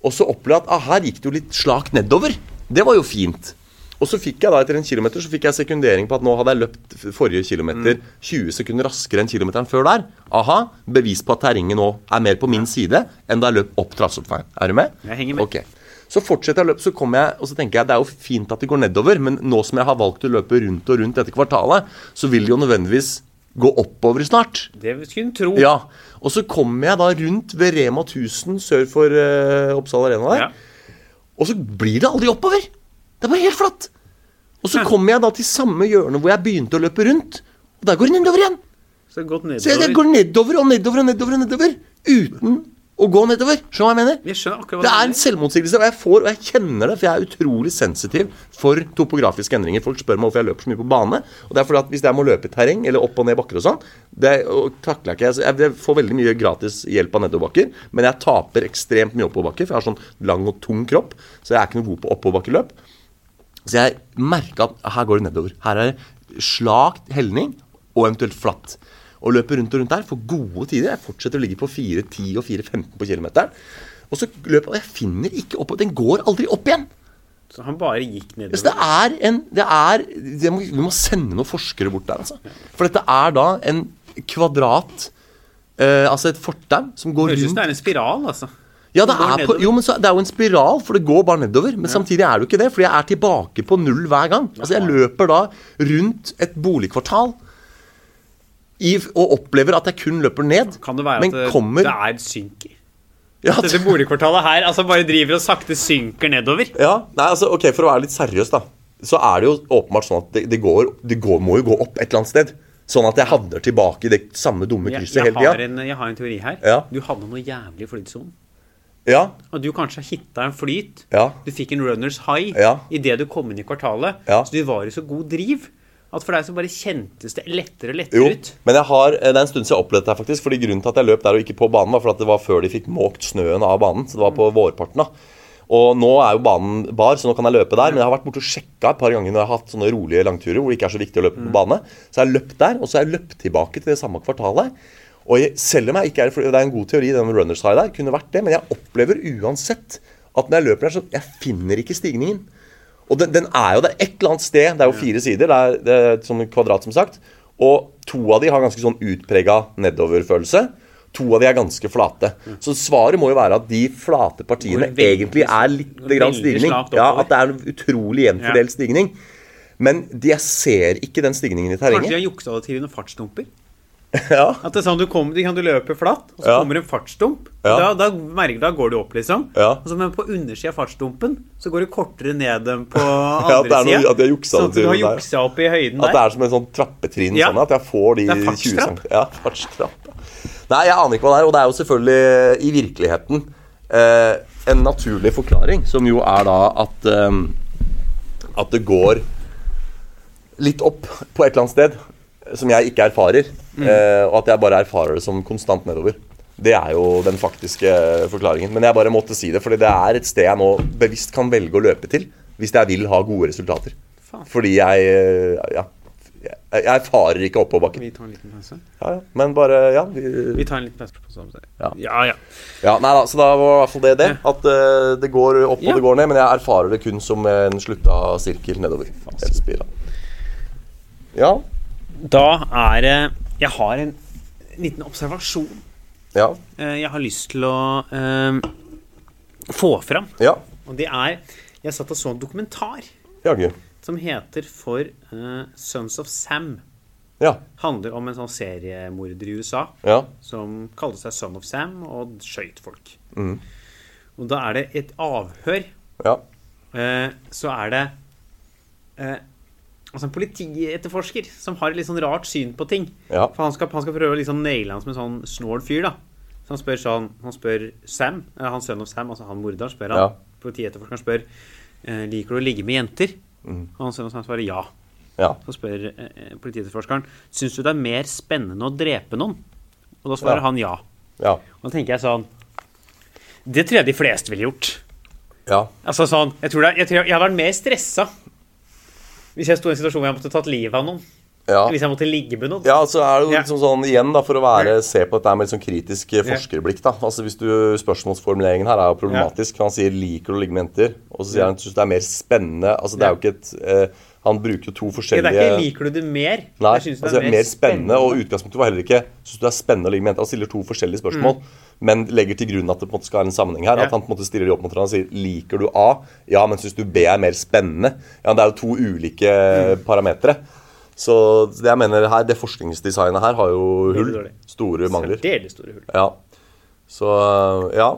C: Og så opplevde jeg at ah, her gikk det jo litt slakt nedover. Det var jo fint. Og så fikk jeg da etter en kilometer så fikk jeg sekundering på at nå hadde jeg løpt f- forrige kilometer
B: Mm.
C: 20 sekunder raskere enn kilometeren før der. Aha, bevis på at terrenget nå er mer på min side enn da jeg løp opp Trassoppveien. Er du med?
B: Jeg henger med.
C: Ok. Så fortsetter jeg å løpe, så kommer jeg, og så tenker jeg det er jo fint at det går nedover, men nå som jeg har valgt å løpe rundt og rundt dette kvartalet, så vil det jo nødvendigvis gå oppover snart.
B: Det skulle en tro.
C: Ja, Og så kommer jeg da rundt ved Rema 1000 sør for eh, Oppsal Arena der.
B: Ja.
C: Og så blir det aldri oppover. Det er bare helt flatt. Og så kommer jeg da til samme hjørne hvor jeg begynte å løpe rundt. Og der går det nedover igjen.
B: Så gått
C: Så jeg, jeg
B: nedover.
C: går nedover og nedover og nedover og nedover uten å gå nedover. Skjønner du hva jeg mener?
B: Jeg skjønner akkurat hva
C: Det
B: du
C: er en
B: mener.
C: selvmotsigelse, og jeg får, og jeg kjenner det, for jeg er utrolig sensitiv for topografiske endringer. Folk spør meg hvorfor jeg løper så mye på bane. Og det er fordi at hvis jeg må løpe i terreng eller opp og ned bakker og sånn, det og takler jeg ikke. Jeg, jeg får veldig mye gratis hjelp av nedoverbakker, men jeg taper ekstremt mye oppoverbakker, for jeg har sånn lang og tung kropp, så jeg er ikke noe god på oppoverbakkeløp. Så jeg merka at her går det nedover. Her er det slakt helning og eventuelt flatt. Og løper rundt og rundt der, får gode tider. Jeg fortsetter å ligge på 4.10 og 4.15 på kilometeren. Og så løper jeg, og jeg finner ikke opp, den går aldri opp igjen.
B: Så han bare gikk
C: Så det
B: nedover.
C: er en det er, det må, Vi må sende noen forskere bort der, altså. For dette er da en kvadrat eh, Altså et fortau som går
B: Høres ut
C: rundt
B: som det er en spiral, altså.
C: ja, det
B: Som går
C: er, på,
B: nedover.
C: jo, men så, det er jo en spiral, for det går bare nedover. Men samtidig er det jo ikke det, fordi jeg er tilbake på null hver gang. Altså, Jeg løper da rundt et boligkvartal i, og opplever at jeg kun løper ned,
B: Kan det være
C: men
B: at det,
C: kommer
B: det er synk i?
C: ja,
B: Dette boligkvartalet her altså bare driver og sakte synker nedover.
C: ja, nei, altså, ok, For å være litt seriøs, da, så er det jo åpenbart sånn at det, det, går, det går, må jo gå opp et eller annet sted. Sånn at jeg havner tilbake i det samme dumme
B: Jeg,
C: krysset
B: jeg,
C: hele
B: har
C: tida.
B: en, jeg har en teori her.
C: Ja.
B: Du hadde noe jævlig i flytsonen.
C: Ja,
B: Og du kanskje hitta en flyt.
C: Ja.
B: Du fikk en runners high
C: Ja.
B: idet du kom inn i kvartalet.
C: Ja.
B: Så du var i så god driv at for deg så bare kjentes det lettere og lettere
C: jo,
B: ut.
C: men jeg har, eh, det er en stund siden jeg opplevde det her, faktisk. fordi Grunnen til at jeg løp der og ikke på banen, var for at det var før de fikk måkt snøen av banen. Så det var på vårparten. da. Og nå er jo banen bar, så nå kan jeg løpe der. Men jeg har vært borte og sjekka et par ganger når jeg har hatt sånne rolige langturer hvor det ikke er så viktig å løpe på bane. Så jeg har løpt der, og så har jeg løpt tilbake til det samme kvartalet. Og jeg, selv om jeg ikke er, for Det er en god teori, den om runners high der, kunne vært det, men jeg opplever uansett at når jeg løper der, så jeg finner ikke stigningen. Og den, den er jo der et eller annet sted. Det er jo fire sider. Det er, det er et sånn kvadrat, som sagt. Og to av de har ganske sånn utprega nedoverfølelse. To av de er ganske flate. Så svaret må jo være at de flate partiene
B: Går veldig-
C: egentlig er litt
B: går
C: grann
B: veldig
C: stigning.
B: slakt
C: Ja,
B: oppover.
C: At det er en utrolig jevnt
B: Ja.
C: fordelt stigning. Men de- jeg ser ikke den stigningen i
B: Kanskje de
C: terrenget.
B: har juksa det til i noen fartsdumper?
C: Ja.
B: At det er sånn du, kommer- du kan- du løper flatt, og så
C: Ja.
B: kommer en fartsdump.
C: Ja.
B: Da, da, merker, da går du opp, liksom.
C: Ja.
B: Og så, men på undersida av fartsdumpen så går du kortere ned enn på
C: at det
B: andre
C: er noe-
B: sida.
C: at de har juksa
B: sånn
C: det
B: at
C: til
B: du har
C: den der.
B: juksa opp i høyden
C: At det
B: der.
C: er som en sånn trappetrinn,
B: Ja.
C: sånn at jeg får de
B: Det er
C: 20
B: fartstrapp.
C: cm. Ja, fartstrapp. Nei, jeg aner ikke hva det er, og det er jo selvfølgelig i virkeligheten eh, en naturlig forklaring, som jo er da at eh, at det går litt opp på et eller annet sted, som jeg ikke erfarer,
B: Mm.
C: eh, og at jeg bare erfarer det som konstant nedover. Det er jo den faktiske forklaringen. Men jeg bare måtte si det, fordi det er et sted jeg nå bevisst kan velge å løpe til hvis jeg vil ha gode resultater.
B: Faen.
C: Fordi jeg eh, ja, jeg, jeg erfarer ikke oppoverbakken.
B: Vi tar en liten pause.
C: Ja, ja. Men bare ja, vi,
B: Vi tar en liten pause på samme sted.
C: Ja.
B: ja. ja.
C: ja. Nei da, så da var i hvert fall det det. At eh, det går opp og
B: Ja.
C: det går ned, men jeg erfarer det kun som en slutta sirkel nedover. Eller spiral. Ja.
B: Da er det Jeg har en liten observasjon
C: Ja.
B: eh, jeg har lyst til å eh, få fram.
C: Ja.
B: Og det er Jeg satt og så en dokumentar
C: Jaggu.
B: som heter For eh, Sons of Sam.
C: Ja.
B: Handler om en sånn seriemorder i USA
C: Ja.
B: som kalte seg Son of Sam og skøyt folk. Og da er det et avhør.
C: Ja.
B: eh, så er det eh, Altså en politietterforsker som har et litt sånn rart syn på ting.
C: Ja.
B: For han skal, han skal prøve å liksom naile han som en sånn snål fyr, da. Så han spør sånn Han spør Sam, eh, han sønnen av Sam, altså han morderen, spør han.
C: Ja.
B: Politietterforskeren spør eh, Liker du å ligge med jenter.
C: Mm.
B: Og han sønnen av Sam svarer ja.
C: Ja.
B: Så spør eh, eh, politietterforskeren Syns du det er mer spennende å drepe noen. Og da svarer
C: Ja.
B: han ja.
C: Ja.
B: Og da tenker jeg sånn Det tror jeg de fleste ville gjort.
C: Ja.
B: Altså sånn, jeg, tror det, er- jeg, tror jeg, jeg hadde vært mer stressa hvis jeg sto i en situasjon hvor jeg måtte tatt livet av noen.
C: Ja.
B: Hvis jeg måtte ligge med noen.
C: Ja, så er det jo
B: Ja.
C: liksom sånn, igjen da, For å være, se på dette med litt sånn kritisk eh, forskerblikk. da Altså hvis du, Spørsmålsformuleringen her er jo problematisk. for Han sier 'liker du å ligge med jenter?' Og så sier
B: Ja.
C: han synes det er mer spennende. Altså det er jo ikke et eh, Han bruker jo to
B: Det
C: forskjellige
B: er ikke 'liker du det mer'?
C: Nei,
B: Jeg synes det
C: altså mer, spennende, og utgangspunktet var heller ikke Syns du det er spennende å ligge med jenter? Han stiller to forskjellige spørsmål, men legger til grunn at det på en måte skal være en sammenheng her.
B: Mm. Ja.
C: At han på en måte stiller de opp mot hverandre og sier Liker du A? Ja, men syns du B er mer spennende? Ja, det er jo to ulike
B: Mm.
C: parametere. Så det jeg mener her, det forskningsdesignet her har jo hull.
B: dårlig.
C: Store mangler.
B: Særdeles store hull.
C: Ja. Så ja.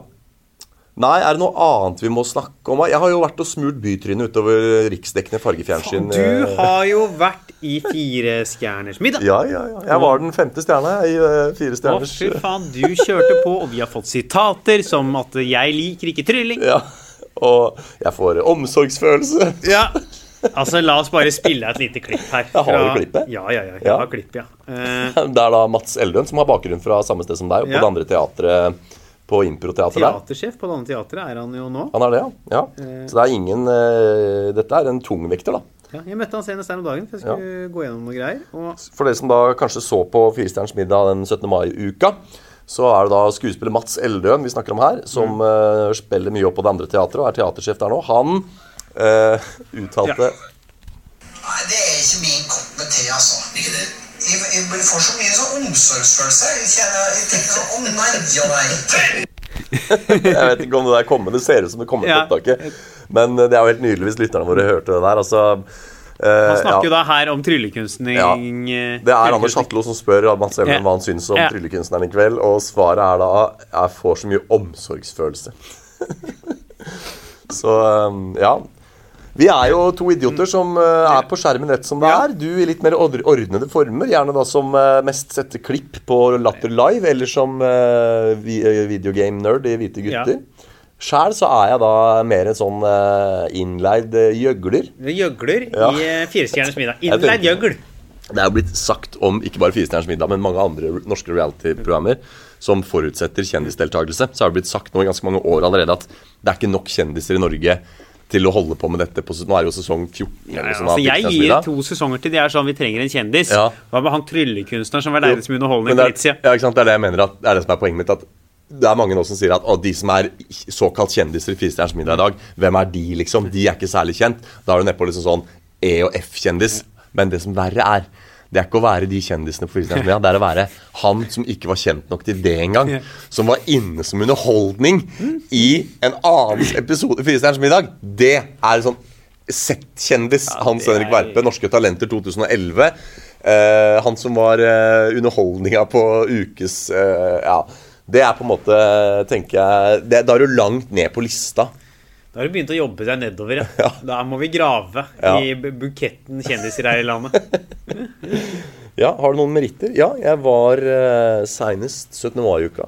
C: Nei, er det noe annet vi må snakke om? Jeg har jo vært og smurt bytrynet utover riksdekkende fargefjernsyn. eh,
B: Du har jo vært i Fire stjerners middag.
C: ja, ja, ja. Jeg var den femte stjerna jeg, i eh, Fire
B: Å,
C: stjerners
B: fy faen, du kjørte på, og vi har fått sitater som at 'jeg liker ikke trylling'.
C: eh, Ja. Og jeg får omsorgsfølelse.
B: Ja. Altså, la oss bare spille av et lite klipp her.
C: Jeg har jo
B: fra-
C: klippet.
B: Ja, ja, ja. Jeg
C: Ja.
B: har klipp, ja. Eh,
C: Det er da Mats Eldøen, som har bakgrunn fra samme sted som deg, og på
B: Ja.
C: det andre teatret på improteater der.
B: Teatersjef på det andre teatret er han jo nå.
C: Han er det, ja. ja. Så det er ingen eh, Dette er en tungvekter, da.
B: Ja, jeg møtte han senest her om dagen, for jeg skulle gå gjennom noen greier. Og
C: For dere som da kanskje så på Firestjerners middag den 17. mai-uka, så er det da skuespiller Mats Eldøen vi snakker om her, som eh, spiller mye opp på det andre teatret og er teatersjef der nå. Han eh, uttalte
A: Nei, det er ikke min kopp med te, altså. Ikke det? Jeg, jeg blir- får så mye sånn omsorgsfølelse. Jeg kjenner, jeg tenker sånn, å nei og nei.
C: Jeg vet ikke om det der kommer, det ser ut som det kommer
B: Ja.
C: på opptaket. Men eh, det er jo helt nydelig hvis lytterne våre hørte det der. Altså, eh,
B: han snakker
C: ja.
B: jo da her om tryllekunstning
C: Ja.
B: eh,
C: Det er Anders
B: tryllekunstning.
C: Hatlo som spør Mats Eldøen
B: Ja.
C: hva han syns om
B: Ja.
C: tryllekunstneren i kveld, og svaret er da jeg får så mye omsorgsfølelse. så um, ja. Vi er jo to idioter som uh, er på skjermen rett som det
B: Ja.
C: er. Du i litt mer ordr- ordnede former, gjerne da som uh, mest setter klipp på Latter Live, eller som uh, vi- uh, videogame-nerd i Hvite
B: Ja.
C: gutter. Sjæl så er jeg da mer en sånn uh, innleid uh, gjøgler.
B: Det Gjøgler
C: Ja.
B: i eh, Firestjerners middag.
C: Jeg tenkte-
B: Innleid gjøgl.
C: Det er jo blitt sagt om ikke bare Firestjerners middag, men mange andre re- norske reality-programmer som forutsetter kjendisdeltakelse. Så har det blitt sagt nå i ganske mange år allerede at det er ikke nok kjendiser i Norge til å holde på med dette. På, s- nå er det jo sesong 14. eller
B: Ja,
C: sånn av
B: altså, jeg
C: Firestjerners
B: gir
C: middag.
B: to sesonger til de er sånn vi trenger en kjendis.
C: Ja.
B: Hva med han tryllekunstneren som var
C: Jo,
B: deilig som underholdning
C: men
B: på
C: det er-
B: Ritzia?
C: Ja, ikke sant? Det er det jeg mener at, det er det som er poenget mitt. at det er mange nå som sier at å, de som er såkalt kjendiser i Firestjerners middag i dag, hvem er de, liksom? De er ikke særlig kjent. Da er du nedpå liksom sånn E- og F-kjendis. Men det som verre er, det er ikke å være de kjendisene på Firestjerners middag. Det er å være han som ikke var kjent nok til det engang. Som var inne som underholdning i en annen episode i Firestjerners middag. Det er sånn Z-kjendis, Hans
B: det
C: Henrik
B: er-
C: Verpe. Norske Talenter 2011. Eh, han som var eh, underholdninga på ukes eh, Ja. Det er på en måte, tenker jeg det, Da er du langt ned på lista.
B: Da har det begynt å jobbe seg nedover. Ja.
C: Ja.
B: Da må vi grave
C: Ja.
B: i bu- buketten kjendiser her i landet.
C: Ja, Har du noen meritter? Ja, jeg var eh, seinest 17. mai-uka.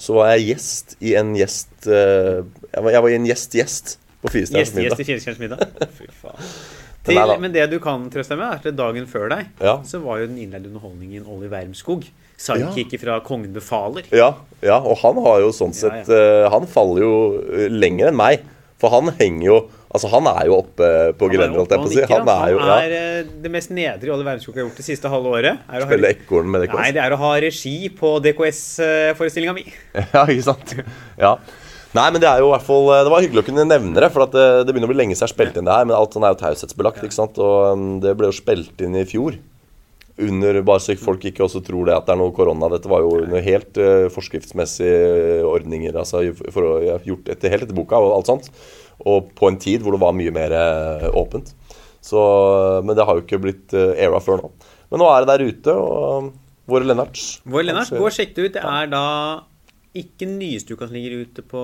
C: Så var jeg gjest i en gjest eh, jeg, var, jeg var i en gjest-gjest på Firestjerners
B: Gjest, gjest i
C: middag.
B: Firestjerners middag. Fy faen.
C: Den
B: Til,
C: er da-
B: men det du kan trøste deg med, er at dagen før deg
C: Ja.
B: så var jo den innleide underholdningen Olli Wermskog. Sidekicker fra Kongen befaler.
C: Ja, ja, og han har jo sånn
B: Ja, ja.
C: sett eh, Han faller jo eh, lenger enn meg. For han henger jo Altså, han er jo oppe
B: Han
C: på
B: er
C: grenderen,
B: jo
C: holdt
B: oppe og
C: jeg på å si.
B: nikker,
C: Han er jo ja,
B: Han er eh, det mest nedre Olli Wermskog har gjort det siste halve året. Er å ha-
C: Spille ekorn med det
B: Nei, det er å ha regi på DKS-forestillinga mi.
C: Ja, ikke sant? Ja. Nei, men det er jo i hvert fall eh, Det var hyggelig å kunne nevne det, for at det, det begynner å bli lenge siden jeg har spilt inn det her. Men alt sånn er jo taushetsbelagt, ikke sant. Og um, det ble jo spilt inn i fjor. Under, bare så folk ikke også tror det at det er noe korona. Dette var jo under helt uh, forskriftsmessige ordninger. Altså i- for å ja, gjort etter, helt etter boka og alt sånt. Og på en tid hvor det var mye mer eh, åpent. Så, eh, men det har jo ikke blitt uh, era før nå. Men nå er det der ute, og um, våre Lennarts
B: Vår Lennart,
C: Kanskje-
B: gå og sjekk det ut. Det er da ikke den nyeste uka som ligger ute på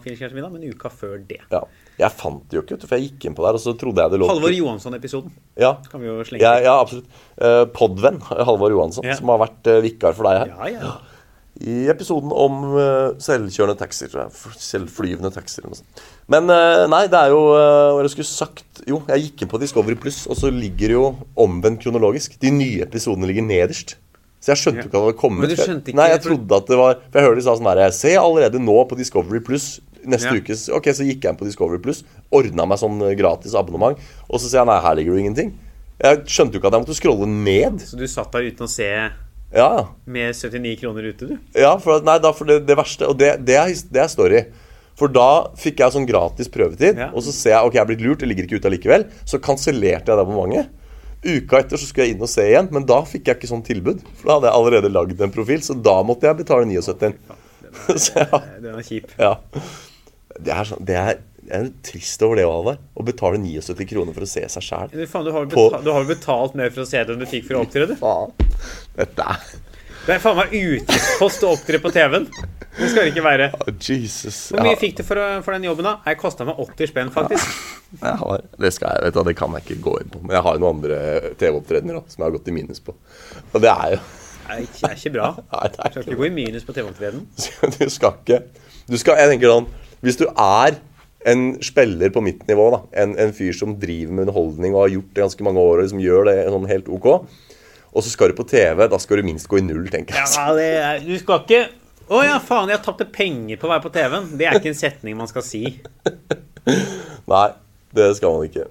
B: Filmskjærs middag, men uka før det.
C: Ja. Jeg fant det jo ikke, vet du, for jeg gikk inn på der, og så trodde jeg det lå
B: Halvor Johansson-episoden
C: Ja,
B: kan vi jo slenge
C: ja, ja absolutt. Eh, Podvenn Halvor Johansson,
B: Ja.
C: som har vært eh, vikar for deg her.
B: Ja, ja.
C: I episoden om eh, selvkjørende taxier. tror jeg. F- Selvflyvende taxier. eller noe sånt. Men eh, nei, det er jo eh, Hva var det jeg skulle sagt? Jo, jeg gikk inn på Discovery Pluss, og så ligger jo omvendt kronologisk. De nye episodene ligger nederst. Så jeg skjønte jo ikke at det var kommet.
B: Men du
C: før.
B: skjønte ikke-
C: nei, jeg
B: for-
C: trodde at det var For jeg hører de sa sånn her Jeg ser allerede nå på Discovery Pluss neste
B: Ja.
C: ukes Ok, så gikk jeg inn på Discovery Pluss, ordna meg sånn eh, gratis abonnement, og så sier jeg nei, her ligger det jo ingenting. Jeg skjønte jo ikke at jeg måtte scrolle ned.
B: Så du satt der uten å se
C: Ja, ja.
B: med 79 kroner ute, du?
C: Ja, for, at- nei, da, for det, det verste Og det, det, er, his- det er story. For da fikk jeg sånn gratis prøvetid,
B: Ja.
C: og så ser jeg ok, jeg er blitt lurt, det ligger ikke ute allikevel. Så kansellerte jeg det abonnementet. Uka etter så skulle jeg inn og se igjen, men da fikk jeg ikke sånn tilbud. For da hadde jeg allerede lagd en profil, så da måtte jeg betale 79. Så ja,
B: Nei, Den er kjip.
C: ja. Det er, sånn, det er, det er trist over det, Halvard. Å betale 79 kroner for å se seg sjæl.
B: Du, faen, du har jo
C: På-
B: betalt, du har jo betalt mer for å se det enn du fikk for å opptre, du.
C: Faen. Dette er
B: Det er faen meg utgiftspost å opptre på TV-en. Det skal det ikke være.
C: Jesus.
B: Hvor mye
C: Ja.
B: fikk du for, å- for den jobben, da? Nei, kosta meg 80 spenn, faktisk.
C: Jeg har, det, skal jeg, vet du, hva, det kan jeg ikke gå inn på. Men jeg har jo noen andre TV-opptredener da, som jeg har gått i minus på. Og det er jo
B: Det er ikke, er ikke bra.
C: Nei, det er
B: Skal
C: ikke
B: ikke gå i minus på TV-opptredenen.
C: Du skal ikke du skal, Jeg tenker sånn Hvis du er en spiller på mitt nivå, da, en, en fyr som driver med underholdning og har gjort det ganske mange år og liksom gjør det sånn helt OK, og så skal du på TV, da skal du minst gå i null, tenker jeg.
B: Ja, det er, du skal ikke Å ja, faen, jeg tapte penger på å være på TV-en. Det er ikke en setning man skal si.
C: Nei, det skal man ikke.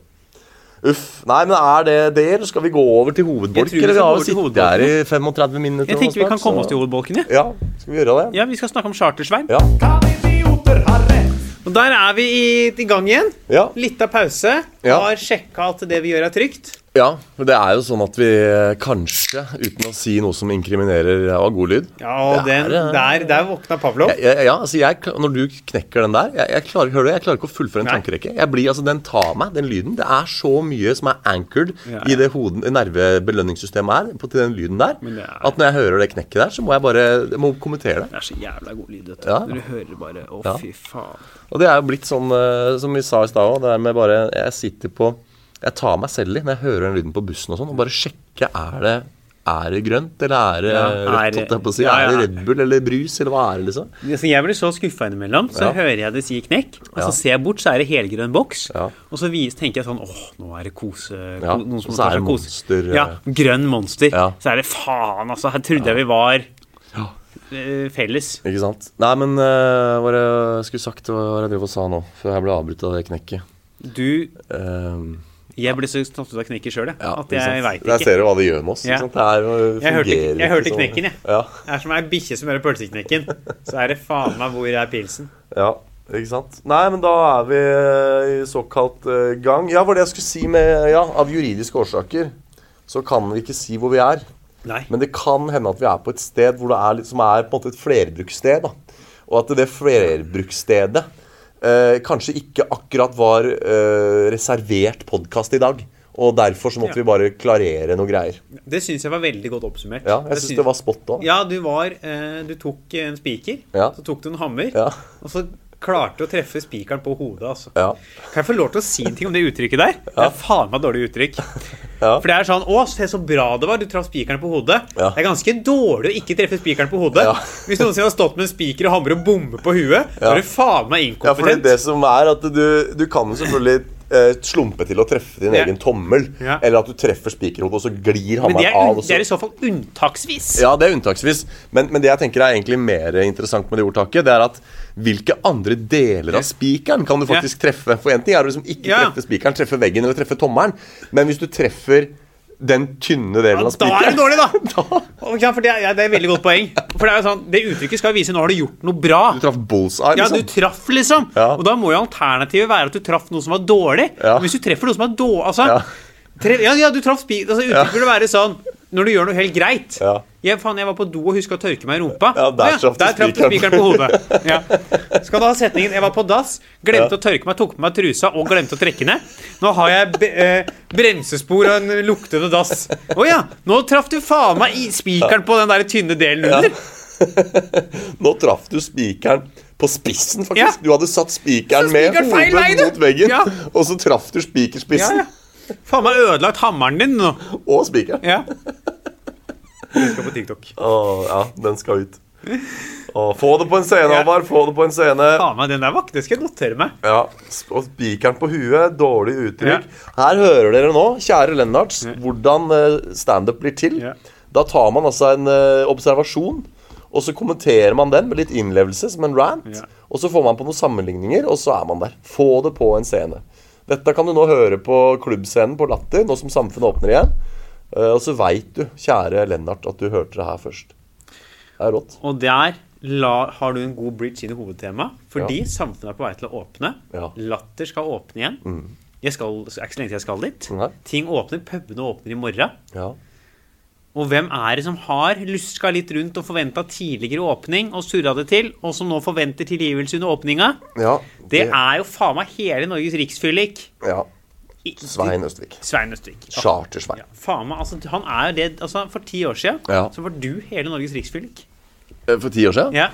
C: Uff. Nei, men er det det, eller skal vi gå over til
B: Jeg tror
C: hovedbolk?
B: vi
C: Eller vi
B: skal
C: har
B: gå
C: jo
B: over til
C: sittet her i 35 minutter.
B: Jeg
C: nå
B: tenker vi
C: snart,
B: kan komme
C: så-
B: oss til hovedbolken, ja.
C: Ja, skal vi gjøre det?
B: ja. Vi skal snakke om Chartersvein.
C: Ja.
B: Og der er vi i, i gang igjen.
C: Ja.
B: Litt av pause.
C: Ja.
B: Har sjekka at det vi gjør, er trygt.
C: ja. For det er jo sånn at vi eh, kanskje, uten å si noe som inkriminerer eh, av god lyd
B: Ja, og
C: Det er,
B: den,
C: eh,
B: der, der våkna Pavlov.
C: Ja, ja, ja, altså jeg, kla- når du knekker den der Jeg, jeg, klarer, hører du, jeg klarer ikke å fullføre en
B: Nei.
C: tankerekke. Jeg blir, altså, Den tar meg, den lyden. Det er så mye som er anchored
B: Ja,
C: i det hoden, nervebelønningssystemet her, på, til den lyden der,
B: Men det er-
C: at når jeg hører det knekket der, så må jeg bare jeg må kommentere det.
B: Det er så jævla god lyd, vet du.
C: Ja.
B: Når du hører bare Å,
C: Ja.
B: fy faen.
C: Og det er jo blitt sånn, eh, som vi sa i stad òg, det der med bare Jeg sitter på Jeg tar meg selv i når jeg hører den lyden på bussen og sånn, og bare sjekker er det er det grønt, eller er det
B: Ja, er
C: rødt?
B: det-
C: holdt jeg på å si?
B: ja,
C: Er
B: ja.
C: det Red Bull eller brus, eller hva er det, liksom?
B: Altså, jeg blir så skuffa innimellom. Så
C: Ja.
B: hører jeg det si knekk, og så
C: Ja.
B: ser jeg bort, så er det helgrønn boks.
C: Ja.
B: Og så vis, tenker jeg sånn Åh, nå er det kose... ko-
C: Ja,
B: Noen
C: og
B: som
C: så
B: tar
C: er
B: seg
C: det
B: kose.
C: monster, eh.
B: Ja, grønn monster.
C: Ja.
B: Så er det faen, altså. Her trodde jeg vi var eh, felles.
C: Ikke sant? Nei, men eh, hva var det jeg skulle sagt, hva var det jeg drev og sa nå? Før jeg ble avbrutt av det knekket.
B: Du
C: Ehm,
B: Jeg ble så tatt ut av knekket sjøl, jeg.
C: ja,
B: at jeg
C: sant?
B: veit
C: Der
B: ikke.
C: ser du hva det gjør med oss.
B: Ja.
C: Ikke sant? Det er, jo-
B: Jeg hørte-
C: fungerer
B: jeg hørte
C: ikke sånn.
B: knekken, jeg.
C: Ja,
B: Det er som ei bikkje som hører pølseknekken. Så er det faen meg hvor er pilsen.
C: ja, ikke sant? Nei, men da er vi eh, i såkalt eh, gang. Ja, var det jeg skulle si med Ja, av juridiske årsaker så kan vi ikke si hvor vi er.
B: Nei.
C: Men det kan hende at vi er på et sted hvor det er litt, som er på en måte et flerbrukssted. Da. Og at det flerbruksstedet eh, kanskje ikke akkurat var eh, reservert podkast i dag. Og derfor så måtte
B: Ja.
C: vi bare klarere noe greier.
B: Det syns jeg var veldig godt oppsummert.
C: Ja, jeg syns det var spot on.
B: Ja, du var eh, Du tok en spiker,
C: Ja.
B: så tok du en hammer,
C: Ja.
B: og så klarte du å treffe spikeren på hodet, altså.
C: Ja.
B: Kan jeg få lov til å si en ting om det uttrykket der? Det er faen meg dårlig uttrykk.
C: Ja.
B: For det er sånn Å, se så bra det var, du traff spikeren på hodet.
C: Ja.
B: Det er ganske dårlig å ikke treffe spikeren på hodet.
C: Ja.
B: Hvis noensinne har stått med en spiker og hammer og bommer på huet, da er du faen meg
C: Ja, for det,
B: inkompetent.
C: det som er at du, du kan jo selvfølgelig eh, slumpe til å treffe din
B: Ja.
C: egen tommel.
B: Ja.
C: Eller at du treffer spikerhodet, og så glir
B: Men det
C: hammeren
B: er,
C: av.
B: un
C: og så-
B: det er i så fall unntaksvis.
C: Ja, det er unntaksvis. Men, men det jeg tenker er egentlig mer interessant med det ordtaket, det er at hvilke andre deler av spikeren kan du faktisk treffe? For én ting er å liksom ikke
B: Ja.
C: treffe spikeren, treffe veggen eller treffe tommelen, men hvis du treffer den tynne delen
B: Ja,
C: av
B: da er det
C: spikeren
B: dårlig, da!
C: Da-
B: Og, ja, for det, er, ja, det er et veldig godt poeng. For Det er jo sånn, det uttrykket skal vise nå har du gjort noe bra.
C: Du traff bullseye,
B: Ja,
C: liksom.
B: du traff, liksom.
C: Ja.
B: Og da må jo alternativet være at du traff noe som var dårlig.
C: Ja.
B: Men Hvis du treffer noe som er dårlig altså,
C: Ja.
B: tre, ja, ja, du traff spiker altså, Uttrykket burde være sånn når du gjør noe helt greit.
C: Ja.
B: Jeg, faen, jeg var på do og huska å tørke meg i rumpa.
C: Ja, der
B: Å
C: traff du
B: der traff du
C: spikeren
B: spikeren på hodet. Ja. Skal du ha setningen 'Jeg var på dass, glemte å tørke meg, tok på meg trusa og glemte å trekke ned'. Nå har jeg be eh, bremsespor og en luktende dass. Å ja, nå traff du faen meg i spikeren på den der tynne delen under.
C: Nå traff du spikeren på spissen, faktisk.
B: Ja.
C: Du hadde satt spikeren
B: Så
C: med
B: spikeren feil vei,
C: hodet
B: du.
C: mot veggen,
B: Ja.
C: og så traff du
B: Ja,
C: spikerspissen
B: ja. Faen meg ødelagt hammeren din nå.
C: og spikeren.
B: Ja. Vi skal på TikTok.
C: Å, ja, den skal ut. Å, få det på en scene,
B: Ja.
C: Håvard. Få det på en scene.
B: Faen meg, den der var ikke Det skal jeg notere meg.
C: Ja, sp- og spikeren på huet, dårlig uttrykk. Her hører dere nå, kjære Lennarts, hvordan eh, standup blir til.
B: Ja.
C: Da tar man altså en eh, observasjon, og så kommenterer man den med litt innlevelse, som en rant.
B: Ja.
C: Og så får man på noen sammenligninger, og så er man der. Få det på en scene. Dette kan du nå høre på klubbscenen på Latter, nå som samfunnet åpner igjen. Eh, og så veit du, kjære Lennart, at du hørte det her først. Det er rått.
B: Og der la, har du en god bridge inn i hovedtemaet. Fordi samfunnet er på vei til å åpne.
C: Ja.
B: Latter skal åpne igjen. Jeg skal, det er ikke så lenge til jeg skal dit.
C: Nei.
B: Ting åpner. Pubene åpner i morgen.
C: Ja.
B: Og hvem er det som har luska litt rundt og forventa tidligere åpning og surra det til, og som nå forventer tilgivelse under åpninga?
C: ja
B: Det er jo faen meg hele Norges riksfyllik.
C: ja.
B: I-
C: Svein Østvik.
B: Svein Østvik. Ja.
C: Charter-Svein.
B: Ja, faen meg, altså, han er jo det, altså, for ti år siden
C: Ja.
B: så var du hele Norges riksfyllik.
C: Eh, For ti år siden?
B: Ja.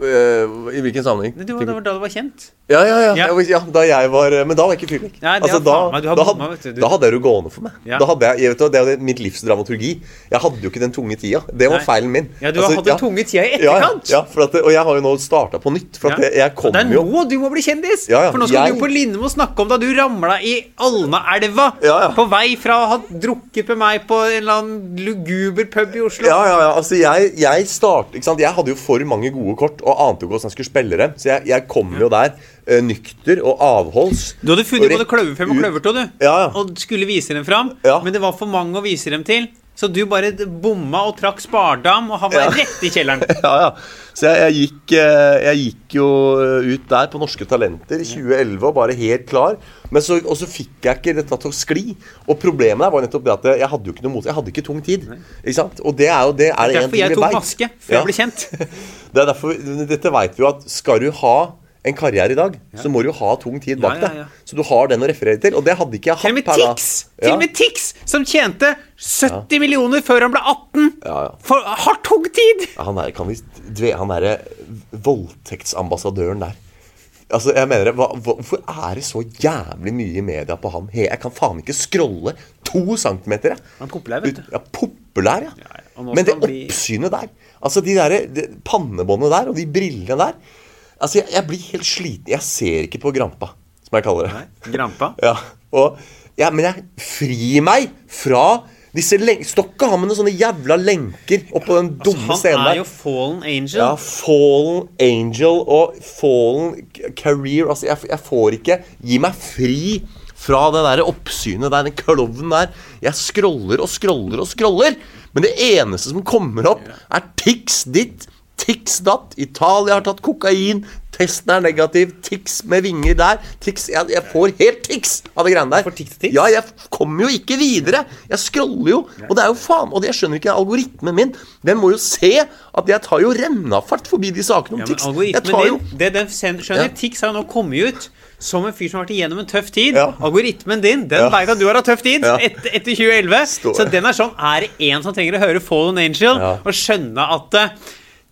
C: Eh, I hvilken sammenheng?
B: Det var det var da du var kjent.
C: Ja, ja, ja.
B: Ja.
C: Jeg var- ja da jeg var, eh, men da var jeg ikke fyrlykk.
B: Nei, det
C: altså,
B: har
C: da,
B: faen meg- du har
C: da,
B: bomma,
C: had,
B: vet du. Du-
C: da hadde jeg det gående for meg.
B: Ja.
C: Da hadde jeg, jeg vet, du, det er jo mitt livs dramaturgi. Jeg hadde jo ikke den tunge tida. Det var
B: Nei.
C: feilen min. Altså,
B: Ja, du har hatt den tunge tida i
C: ja, ja,
B: etterkant.
C: ja, for at, det- og jeg har jo nå starta på nytt. For at
B: Ja.
C: jeg, jeg kom
B: det er
C: jo
B: nå du må bli kjendis!
C: Ja, ja,
B: For nå skal
C: jeg-
B: du på Lindmo snakke om da du ramla i Alnaelva
C: Ja, ja.
B: på vei fra å ha drukket med meg på en eller annen luguber pub i Oslo.
C: Ja, ja, ja. Altså, jeg, jeg start, ikke sant? Jeg hadde jo for mange gode kort og ante jo ikke hvordan jeg skulle spille dem. Så jeg, jeg kom jo der eh, nykter og avholds.
B: Du hadde funnet
C: Og
B: både
C: rett
B: Kløverfem og
C: ut.
B: Kløvertå, du.
C: Ja, ja.
B: Og skulle vise dem fram.
C: Ja.
B: Men det var for mange å vise dem til. Så du bare bomma og trakk spardam og havna
C: Ja.
B: rett i kjelleren.
C: Ja, ja. Så jeg, jeg, gikk, eh, jeg gikk jo eh, ut der på Norske Talenter i 2011 og bare helt klar. Men så, og så fikk jeg ikke dette til å skli. Og problemet der var nettopp det at jeg hadde jo ikke noe mot Jeg hadde ikke tung tid. Ikke sant? Og det er jo det er det en
B: Derfor
C: ting
B: jeg
C: vi
B: tok
C: vet.
B: maske før
C: Ja.
B: jeg ble kjent.
C: Det er derfor, dette vet vi jo at skal du ha en karriere i dag, så må du ha tung tid bak
B: Ja, ja, ja.
C: deg. Så du har den å referere til. Og det hadde ikke jeg
B: Til og
C: hatt
B: med Tix, til og med Tix som tjente 70 millioner før han ble 18,
C: Ja, ja.
B: For, har tung tid!
C: Ja, Han er, kan vi, dve- han er voldtektsambassadøren der. Altså, jeg mener, det, hva, hva, Hvorfor er det så jævlig mye i media på ham? He, jeg kan faen ikke scrolle to centimeter. Jeg.
B: Han er populær, vet du.
C: Ja, populær, ja.
B: ja, og nå
C: Men det
B: skal han bli-
C: oppsynet der, altså de der, det, pannebåndet der og de brillene der Altså, jeg, jeg blir helt sliten. Jeg ser ikke på Grampa, som jeg kaller det.
B: Grampa.
C: Ja, og, ja, men jeg fri meg fra disse len- Stokka har med noen sånne jævla lenker oppå den dumme
B: Altså, Han
C: scenen
B: er
C: der.
B: jo fallen angel.
C: Ja, Fallen Angel og Fallen c- Career Altså, jeg, jeg får ikke Gi meg fri fra det der oppsynet der, den klovnen der. Jeg scroller og scroller og scroller, men det eneste som kommer opp, er Tix ditt, Tix datt. Italia har tatt kokain. Testen er negativ. Tix med vinger der. Tix, jeg, jeg får helt Tix av det greiene der.
B: får tics til tics?
C: Ja, jeg f- kommer jo ikke videre. Jeg scroller jo. Og det er jo faen Og det- jeg skjønner ikke algoritmen min. Den må jo se at jeg tar jo rennafart forbi de sakene om
B: Ja, men
C: tics. Jeg
B: algoritmen
C: tar jo
B: din, det den sen- skjønner,
C: Ja.
B: Tix har jo nå kommet ut som en fyr som har vært igjennom en tøff tid.
C: Ja.
B: Algoritmen din den
C: Ja.
B: vet at du har hatt tøff tid
C: Ja.
B: et, etter 2011.
C: Står-
B: Så den er sånn Er det én som trenger å høre Fallen Angel
C: Ja.
B: og skjønne at eh,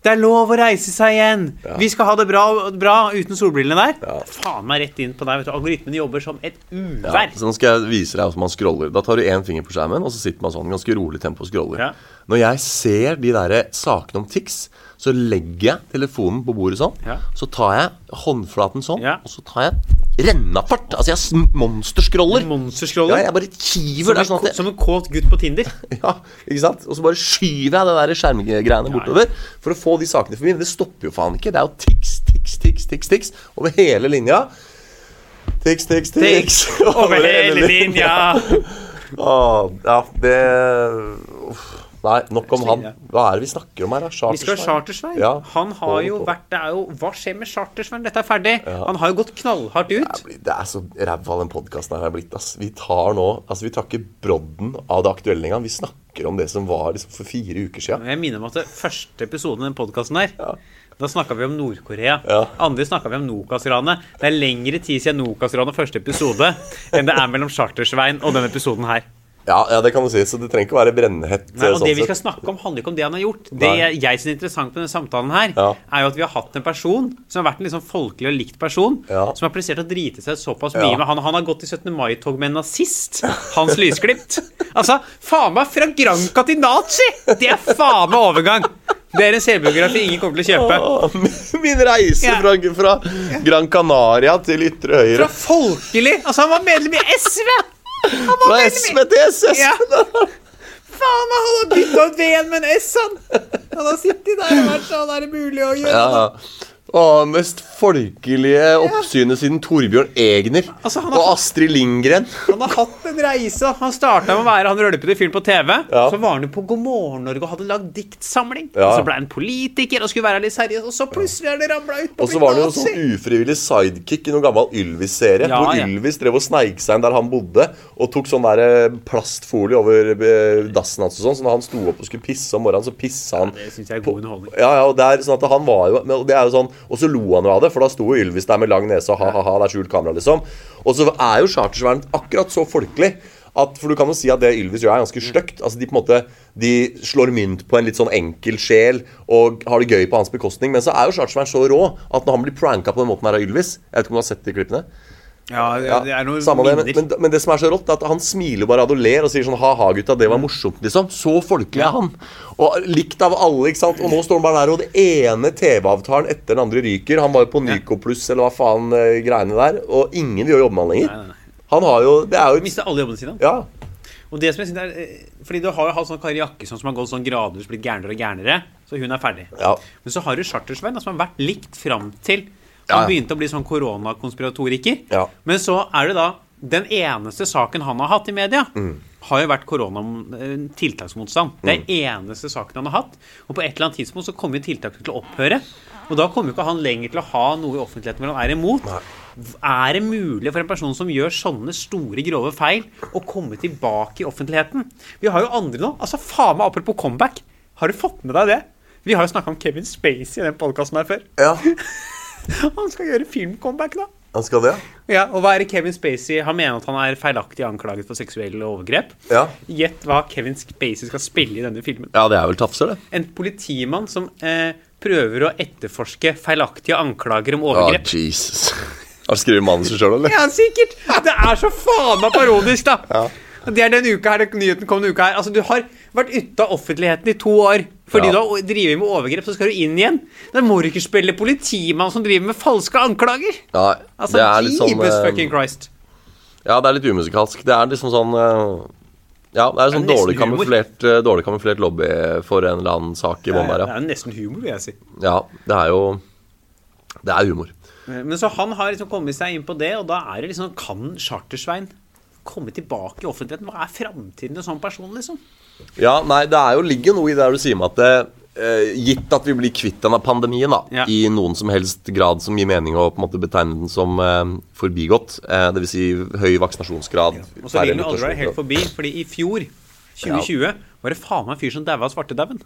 B: det er lov å reise seg igjen. Vi skal ha det bra, bra uten solbrillene der. Faen meg rett inn på deg. vet du Algoritmen jobber som et
C: ja,
B: uvær.
C: så nå skal jeg vise deg hvordan man scroller. Da tar du én finger på skjermen, og så sitter man sånn i ganske rolig tempo og scroller.
B: Ja.
C: Når jeg ser de der eh, sakene om tics, så legger jeg telefonen på bordet sånn.
B: Ja.
C: Så tar jeg håndflaten sånn,
B: Ja.
C: og så tar jeg rennafart. Altså, jeg sn- monsterscroller.
B: Monsterscroller.
C: Sånn. Ja, jeg bare kiver
B: som,
C: der
B: en,
C: sånn at jeg,
B: ko- som en kåt gutt på Tinder.
C: Ja, ikke sant? Og så bare skyver jeg det der skjermgreiene bortover for å få de sakene forbi. Men det stopper jo faen ikke. Det er jo tics, tics, tics, tics, tics over hele linja. Tics, tics, tics.
B: Over hele linja.
C: Å, ja, det Uff. Nei, nok om han.
B: Sliter.
C: Hva er det vi snakker om her? da?
B: Vi skal ha Chartersvein.
C: Ja,
B: Han har
C: hold
B: jo
C: på.
B: vært Det er jo Hva skjer med Chartersvein? Dette er ferdig. Han har jo gått knallhardt ut.
C: Det er så ræva den podkasten her er blitt. Ass. Vi tar nå Altså, vi tar ikke brodden av det aktuelle engang. Vi snakker om det som var liksom, for fire uker sia.
B: Jeg minner om at det første episoden i den podkasten her
C: Ja.
B: Da snakka vi om Nord-Korea.
C: Ja.
B: Andre snakka vi om Nokas-ranet. Det er lengre tid siden Nokas-ranet første episode enn det er mellom Chartersvein og denne episoden her.
C: Ja, ja, det kan du si. Så det trenger ikke å være brennhett.
B: Nei, og
C: sånn
B: Det vi
C: sett.
B: skal snakke om, handler ikke om det han har gjort. Det
C: Nei.
B: jeg, jeg synes er interessant med denne samtalen, her
C: Ja.
B: er jo at vi har hatt en person som har vært en litt sånn folkelig og likt person,
C: Ja.
B: som har prestert å drite seg såpass
C: Ja.
B: mye med han. Han har gått i 17. mai-tog med en nazist. Hans Lysglimt. Altså, faen meg fra Granca til Nazi! Det er faen meg overgang! Det er en selvbiografi ingen kommer til å kjøpe.
C: Åh, Min reise
B: Ja.
C: fra, fra Gran Canaria til ytre
B: Fra
C: høyre.
B: folkelig Altså, han var medlem i SV! Han var
C: Fra
B: medlem i-
C: SV til SS!
B: Ja. Faen, han har bytta ut V-en med en S, han! Han har sittet der og vært sånn, er det mulig å gjøre?
C: Ja. Åh, mest folkelige oppsynet siden Torbjørn Egner
B: Altså, han har-
C: og Astrid Lindgren.
B: Han har hatt en reise. Han starta med å være han rølpete fyren på TV.
C: Ja.
B: Så var han jo på God morgen Norge og hadde lagd diktsamling.
C: Ja.
B: Og så ble han politiker og skulle være litt seriøs, og så plutselig er det ramla ut på
C: Og så var det jo sånn ufrivillig sidekick i noen gammel Ylvis-serie.
B: Ja,
C: hvor
B: ja.
C: Ylvis drev og sneik seg inn der han bodde, og tok sånn der eh, plastfolie over eh, dassen hans. og sånn Så når han sto opp og skulle pisse om morgenen, så pissa han
B: Det syns jeg er god underholdning.
C: Ja, ja, og det er sånn at han var jo men det er jo sånn, Og så lo han jo av det, for da sto jo Ylvis der med lang nese og ha-ha-ha, det er skjult kamera, liksom. Og så er jo Chartersvern akkurat så folkelig at, For du kan jo si at det Ylvis gjør, er ganske stygt. Altså, de på en måte De slår mynt på en litt sånn enkel sjel og har det gøy på hans bekostning. Men så er jo Charterman så rå at når han blir pranka på den måten her av Ylvis Jeg vet ikke om du har sett de klippene?
B: Ja,
C: Ja,
B: det er noen
C: samme det,
B: minner.
C: men, men, men det som er så rått, er at han smiler bare av det og ler og sier sånn ha-ha, gutta, det var morsomt, liksom. Så folkelig er han. Og likt av alle, ikke sant. Og nå står han bare der, og det ene TV-avtalen etter den andre ryker. Han var jo på Nyco pluss, eller hva faen eh, greiene der. Og ingen vil jo jobbe med han
B: Nei, nei, nei.
C: lenger. Han har jo Det er jo
B: Mista alle jobbene sine.
C: Ja.
B: Og det som jeg synes er eh, Fordi du har jo hatt sånn Kari Jakkesson som har gått sånn gradvis blitt gærnere og gærnere. Så hun er ferdig.
C: Ja.
B: Men så har du Chartersveien, da, som har vært likt fram til han
C: Ja, ja.
B: begynte å bli sånn koronakonspiratoriker.
C: Ja.
B: Men så er det da Den eneste saken han har hatt i media, har jo vært korona eh, tiltaksmotstand. Det er eneste saken han har hatt. Og på et eller annet tidspunkt så kommer jo tiltakene til å opphøre. Og da kommer jo ikke han lenger til å ha noe i offentligheten hvor han er imot. Er det mulig for en person som gjør sånne store, grove feil, å komme tilbake i offentligheten? Vi har jo andre nå. Altså, faen meg, apropos comeback. Har du fått med deg det? Vi har jo snakka om Kevin Spacey i den podkasten her før.
C: ja.
B: Han skal gjøre filmcomeback, da.
C: Han skal det?
B: Ja, Og hva er det Kevin Spacey Han mener at han er feilaktig anklaget for seksuelle overgrep.
C: Ja.
B: Gjett hva Kevin Spacey skal spille i denne filmen.
C: Ja, det er vel tafser, det.
B: En politimann som eh, prøver å etterforske feilaktige anklager om overgrep.
C: Ah, Jesus. Har du skrevet manuset sjøl, eller?
B: Ja, sikkert! Det er så faen meg parodisk, da! Og Det er den uka her, den nyheten kom denne uka her. Altså, Du har vært ute av offentligheten i to år. Fordi du
C: Ja.
B: har drevet med overgrep, så skal du inn igjen. Da må du ikke spille politimann som driver med falske anklager!
C: Nei,
B: Altså,
C: det er litt sånn
B: Jesus
C: eh,
B: fucking Christ.
C: Ja, det er litt umusikalsk. Det er liksom sånn eh, Ja, det er sånn
B: Det er
C: dårlig
B: nesten humor.
C: kamuflert, eh, dårlig kamuflert lobby for en eller annen sak i bånn
B: Det
C: der,
B: er
C: ja.
B: jo nesten humor, vil jeg si.
C: ja. Det er jo Det er humor.
B: Men så han har liksom kommet seg inn på det, og da er det liksom Kan Chartersveien komme tilbake i offentligheten? Hva er framtiden til en sånn person, liksom?
C: Ja, nei, det er jo ligger noe i det du sier med at eh, gitt at vi blir kvitt denne pandemien da,
B: Ja.
C: i noen som helst grad som gir mening å på en måte betegne den som eh, forbigått, eh, det dvil Si høy vaksinasjonsgrad
B: Og så vil den jo aldri
C: mutasjonsgrad.
B: være helt forbi, fordi i fjor, 2020, var det faen meg en fyr som daua av svartedauden.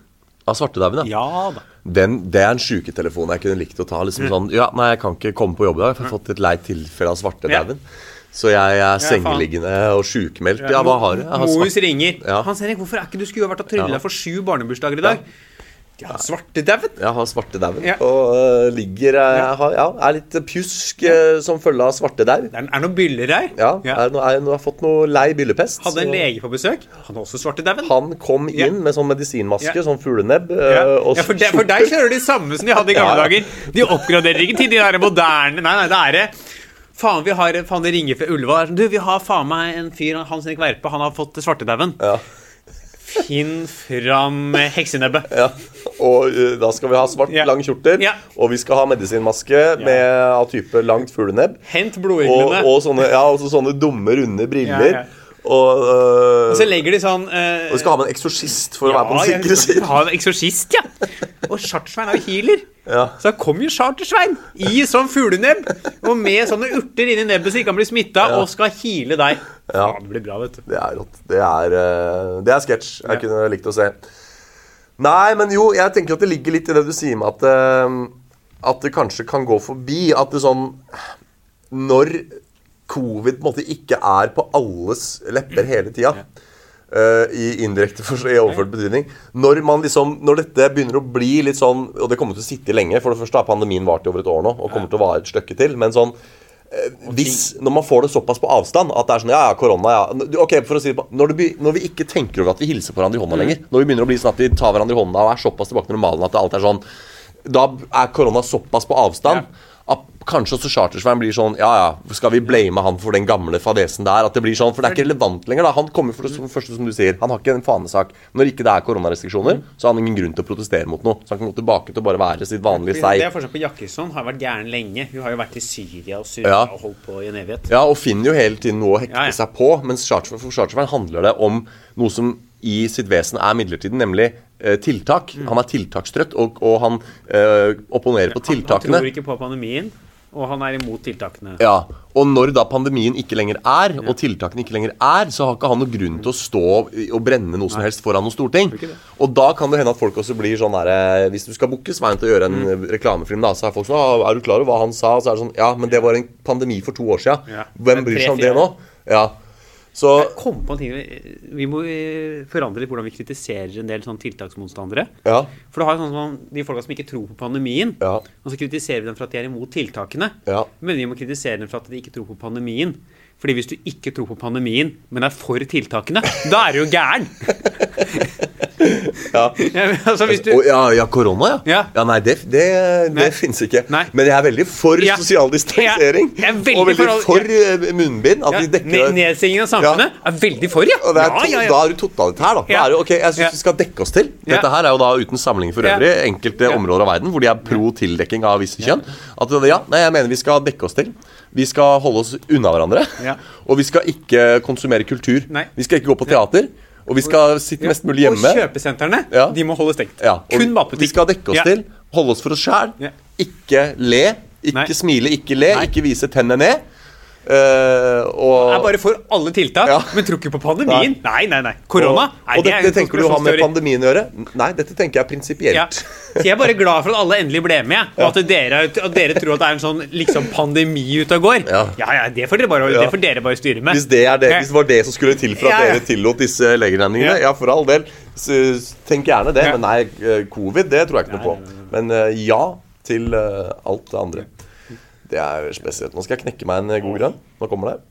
C: Ah, svartedauden, ja.
B: Ja da.
C: Den, det er en sjuketelefon jeg kunne likt å ta.
B: Mm.
C: liksom sånn, ja, nei, Jeg kan ikke komme på jobb i dag, for jeg har fått et leit tilfelle av svartedauden. Så jeg er sengeliggende og sjukmeldt. Ja, hva har du? Jeg har
B: Moes
C: svart-
B: ringer.
C: Ja.
B: Hans Henrik, hvorfor er ikke du skulle ha vært og trylla
C: Ja.
B: for sju barnebursdager i dag? Ja, svartedauden.
C: Jeg har svartedauden
B: Ja.
C: og øh, ligger øh, jeg har, ja, er litt pjusk øh, som følge av svartedaud.
B: Det er, er noen byller her.
C: Ja,
B: Ja.
C: Er, nå er, nå har jeg fått noe lei byllepest.
B: Hadde en
C: så-
B: lege på besøk. Han har også svartedauden.
C: Han kom inn
B: Ja.
C: med sånn medisinmaske,
B: Ja.
C: sånn fuglenebb.
B: Ja.
C: øh,
B: ja,
C: og
B: for, de, for deg så er det de samme som de hadde i gamle
C: Ja, ja.
B: dager. De oppgraderer ikke til de der moderne Nei, nei, det er det. Faen, vi har Faen, det ringer fra Ulva. Det er sånn, Du, vi har faen meg en fyr, Hans Erik Verpe, han har fått svartedauden.
C: Ja.
B: Finn fram eh, heksenebbet.
C: Ja. Og øh, da skal vi ha svart,
B: Ja.
C: lang kjortel,
B: Ja.
C: og vi skal ha medisinmaske med av type langt fuglenebb.
B: Hent
C: Og,
B: blodeglene.
C: og sånne, ja, også sånne dumme, runde briller.
B: Ja, ja.
C: Og, øh,
B: så legger de sånn eh,
C: og vi skal ha med en eksorsist for å være på
B: Ja,
C: den sikre
B: jeg vil
C: siden.
B: ha en eksorsist, ja. Og Chartersvein er jo healer.
C: Ja.
B: Så da kom jo Chartersvein i sånn fuglenebb og med sånne urter inni nebbet så ikke han blir smitta, og skal heale deg. Ja.
C: Ja.
B: det blir bra, vet du.
C: Det er rått. Det er, eh, det er sketsj. Jeg kunne likt å se. Nei, men jo, jeg tenker at det ligger litt i det du sier med at, eh, at det kanskje kan gå forbi. At det sånn Når covid på en måte ikke er på alles lepper hele tida eh, I indirekte for, i overført betydning. Når, man liksom, når dette begynner å bli litt sånn Og det kommer til å sitte lenge. For det første har pandemien vart i over et år nå og kommer til å vare et stykke til. Men sånn hvis, når man får det såpass på avstand at det er sånn Ja, ja, korona, ja. Du, Ok, for å si det på Når, det be- når vi ikke tenker over at vi hilser på hverandre i
B: Mm.
C: hånda lenger, når vi begynner å bli sånn at vi tar hverandre i hånda og er såpass tilbake til normalen at det alt er sånn Da er korona såpass på avstand at kanskje også Chartersveien blir sånn Ja, ja, skal vi blame han for den gamle fadesen der? At det blir sånn For det er ikke relevant lenger, da. Han kommer for det som- første, som du sier, han har ikke en fanesak. Når ikke det er koronarestriksjoner,
B: Mm.
C: så har han ingen grunn til å protestere mot noe. Så han kan gå tilbake til å bare være sitt vanlige
B: Det er
C: seg.
B: forskjell på Jakkesson. Har vært gæren lenge. Hun har jo vært i Syria og Syria
C: Ja.
B: og holdt på i en evighet.
C: Ja, og finner jo hele tiden noe å hekte
B: Ja, ja.
C: seg på. Mens charterfaren, for charterfaren handler det om noe som i sitt vesen er midlertidig, nemlig eh, tiltak. Han er tiltakstrøtt, og, og han eh, opponerer på
B: Mm. Han
C: tiltakene.
B: tror ikke på pandemien, og han er imot tiltakene.
C: Ja, Og når da pandemien ikke lenger er, og tiltakene ikke lenger er, så har ikke han noen grunn til å stå og brenne noe som helst foran noe storting.
B: ikke det.
C: Og da kan det hende at folk også blir sånn derre Hvis du skal booke Svein til å gjøre en
B: Mm.
C: eh, reklamefilm, da, så er folk sånn «Ah, Er du klar over hva han sa? Og så er det sånn Ja, men det var en pandemi for to år siden.
B: Ja.
C: Hvem
B: Det er
C: bryr seg om
B: tre,
C: det nå? Ja. Så
B: Jeg kom på en ting vi- Vi må eh, forandre litt hvordan vi kritiserer en del sånne tiltaksmotstandere.
C: Ja.
B: For du har jo sånn som de folka som ikke tror på pandemien.
C: Ja.
B: Og så kritiserer vi dem for at de er imot tiltakene.
C: Ja.
B: Men vi må kritisere dem for at de ikke tror på pandemien. Fordi hvis du ikke tror på pandemien, men er for tiltakene, da er du jo gæren!
C: ja.
B: Ja, men altså, hvis du,
C: Å, ja, ja, korona, ja.
B: Ja.
C: Nei, det, det, det
B: Nei.
C: fins ikke.
B: Nei.
C: Men jeg er veldig for
B: Ja.
C: sosial distansering.
B: Ja, jeg er veldig
C: og veldig
B: for-
C: for, eh, munnbind. At
B: ja,
C: de dekker
B: ned- Nedstengingen av samfunnet er veldig for, ja!
C: Og det er to,
B: ja, ja, ja.
C: Da er du totalitær, da.
B: Ja.
C: da er det, ok, jeg syns
B: Ja.
C: vi skal dekke oss til.
B: Ja.
C: Dette her er jo da uten sammenligning for
B: Ja.
C: øvrig enkelte
B: Ja.
C: områder av verden hvor de er pro tildekking av visse kjønn. At ja, nei, jeg mener vi skal dekke oss til. Vi skal holde oss unna hverandre.
B: Ja.
C: Og vi skal ikke konsumere kultur.
B: Nei.
C: Vi skal ikke gå på teater. Og vi skal sitte
B: Ja.
C: mest mulig hjemme.
B: Og kjøpesentrene
C: Ja.
B: de må holde stengt.
C: Ja, og
B: Kun
C: Vi
B: matbutikk.
C: skal dekke oss
B: Ja.
C: til, holde oss for oss sjæl,
B: Ja.
C: ikke le, ikke
B: Nei.
C: smile, ikke le,
B: Nei.
C: ikke vise tennene ned. eh, og
B: er bare for alle tiltak,
C: Ja.
B: men tror ikke på pandemien. Nei, nei, nei. Korona? Nei,
C: Og, og
B: det er
C: dette
B: en
C: tenker du har med
B: konspirasjonsteori.
C: pandemien å gjøre? Nei, dette tenker jeg prinsipielt.
B: Ja. Så jeg er bare glad for at alle endelig ble med. Og at dere, at dere tror at det er en sånn liksom pandemi ute og går.
C: Ja.
B: ja, ja, det får dere bare, det
C: Ja.
B: får dere bare styre med.
C: Hvis det, er det, hvis det var det som skulle til for at
B: Ja, ja.
C: dere tillot disse legeregningene,
B: Ja.
C: ja, for all del. s- Tenk gjerne det,
B: Ja.
C: men nei, eh, covid, det tror jeg ikke noe på. Men eh, ja til eh, alt det andre. Det er spesielt. Nå skal jeg knekke meg en eh, god grønn. Nå kommer det.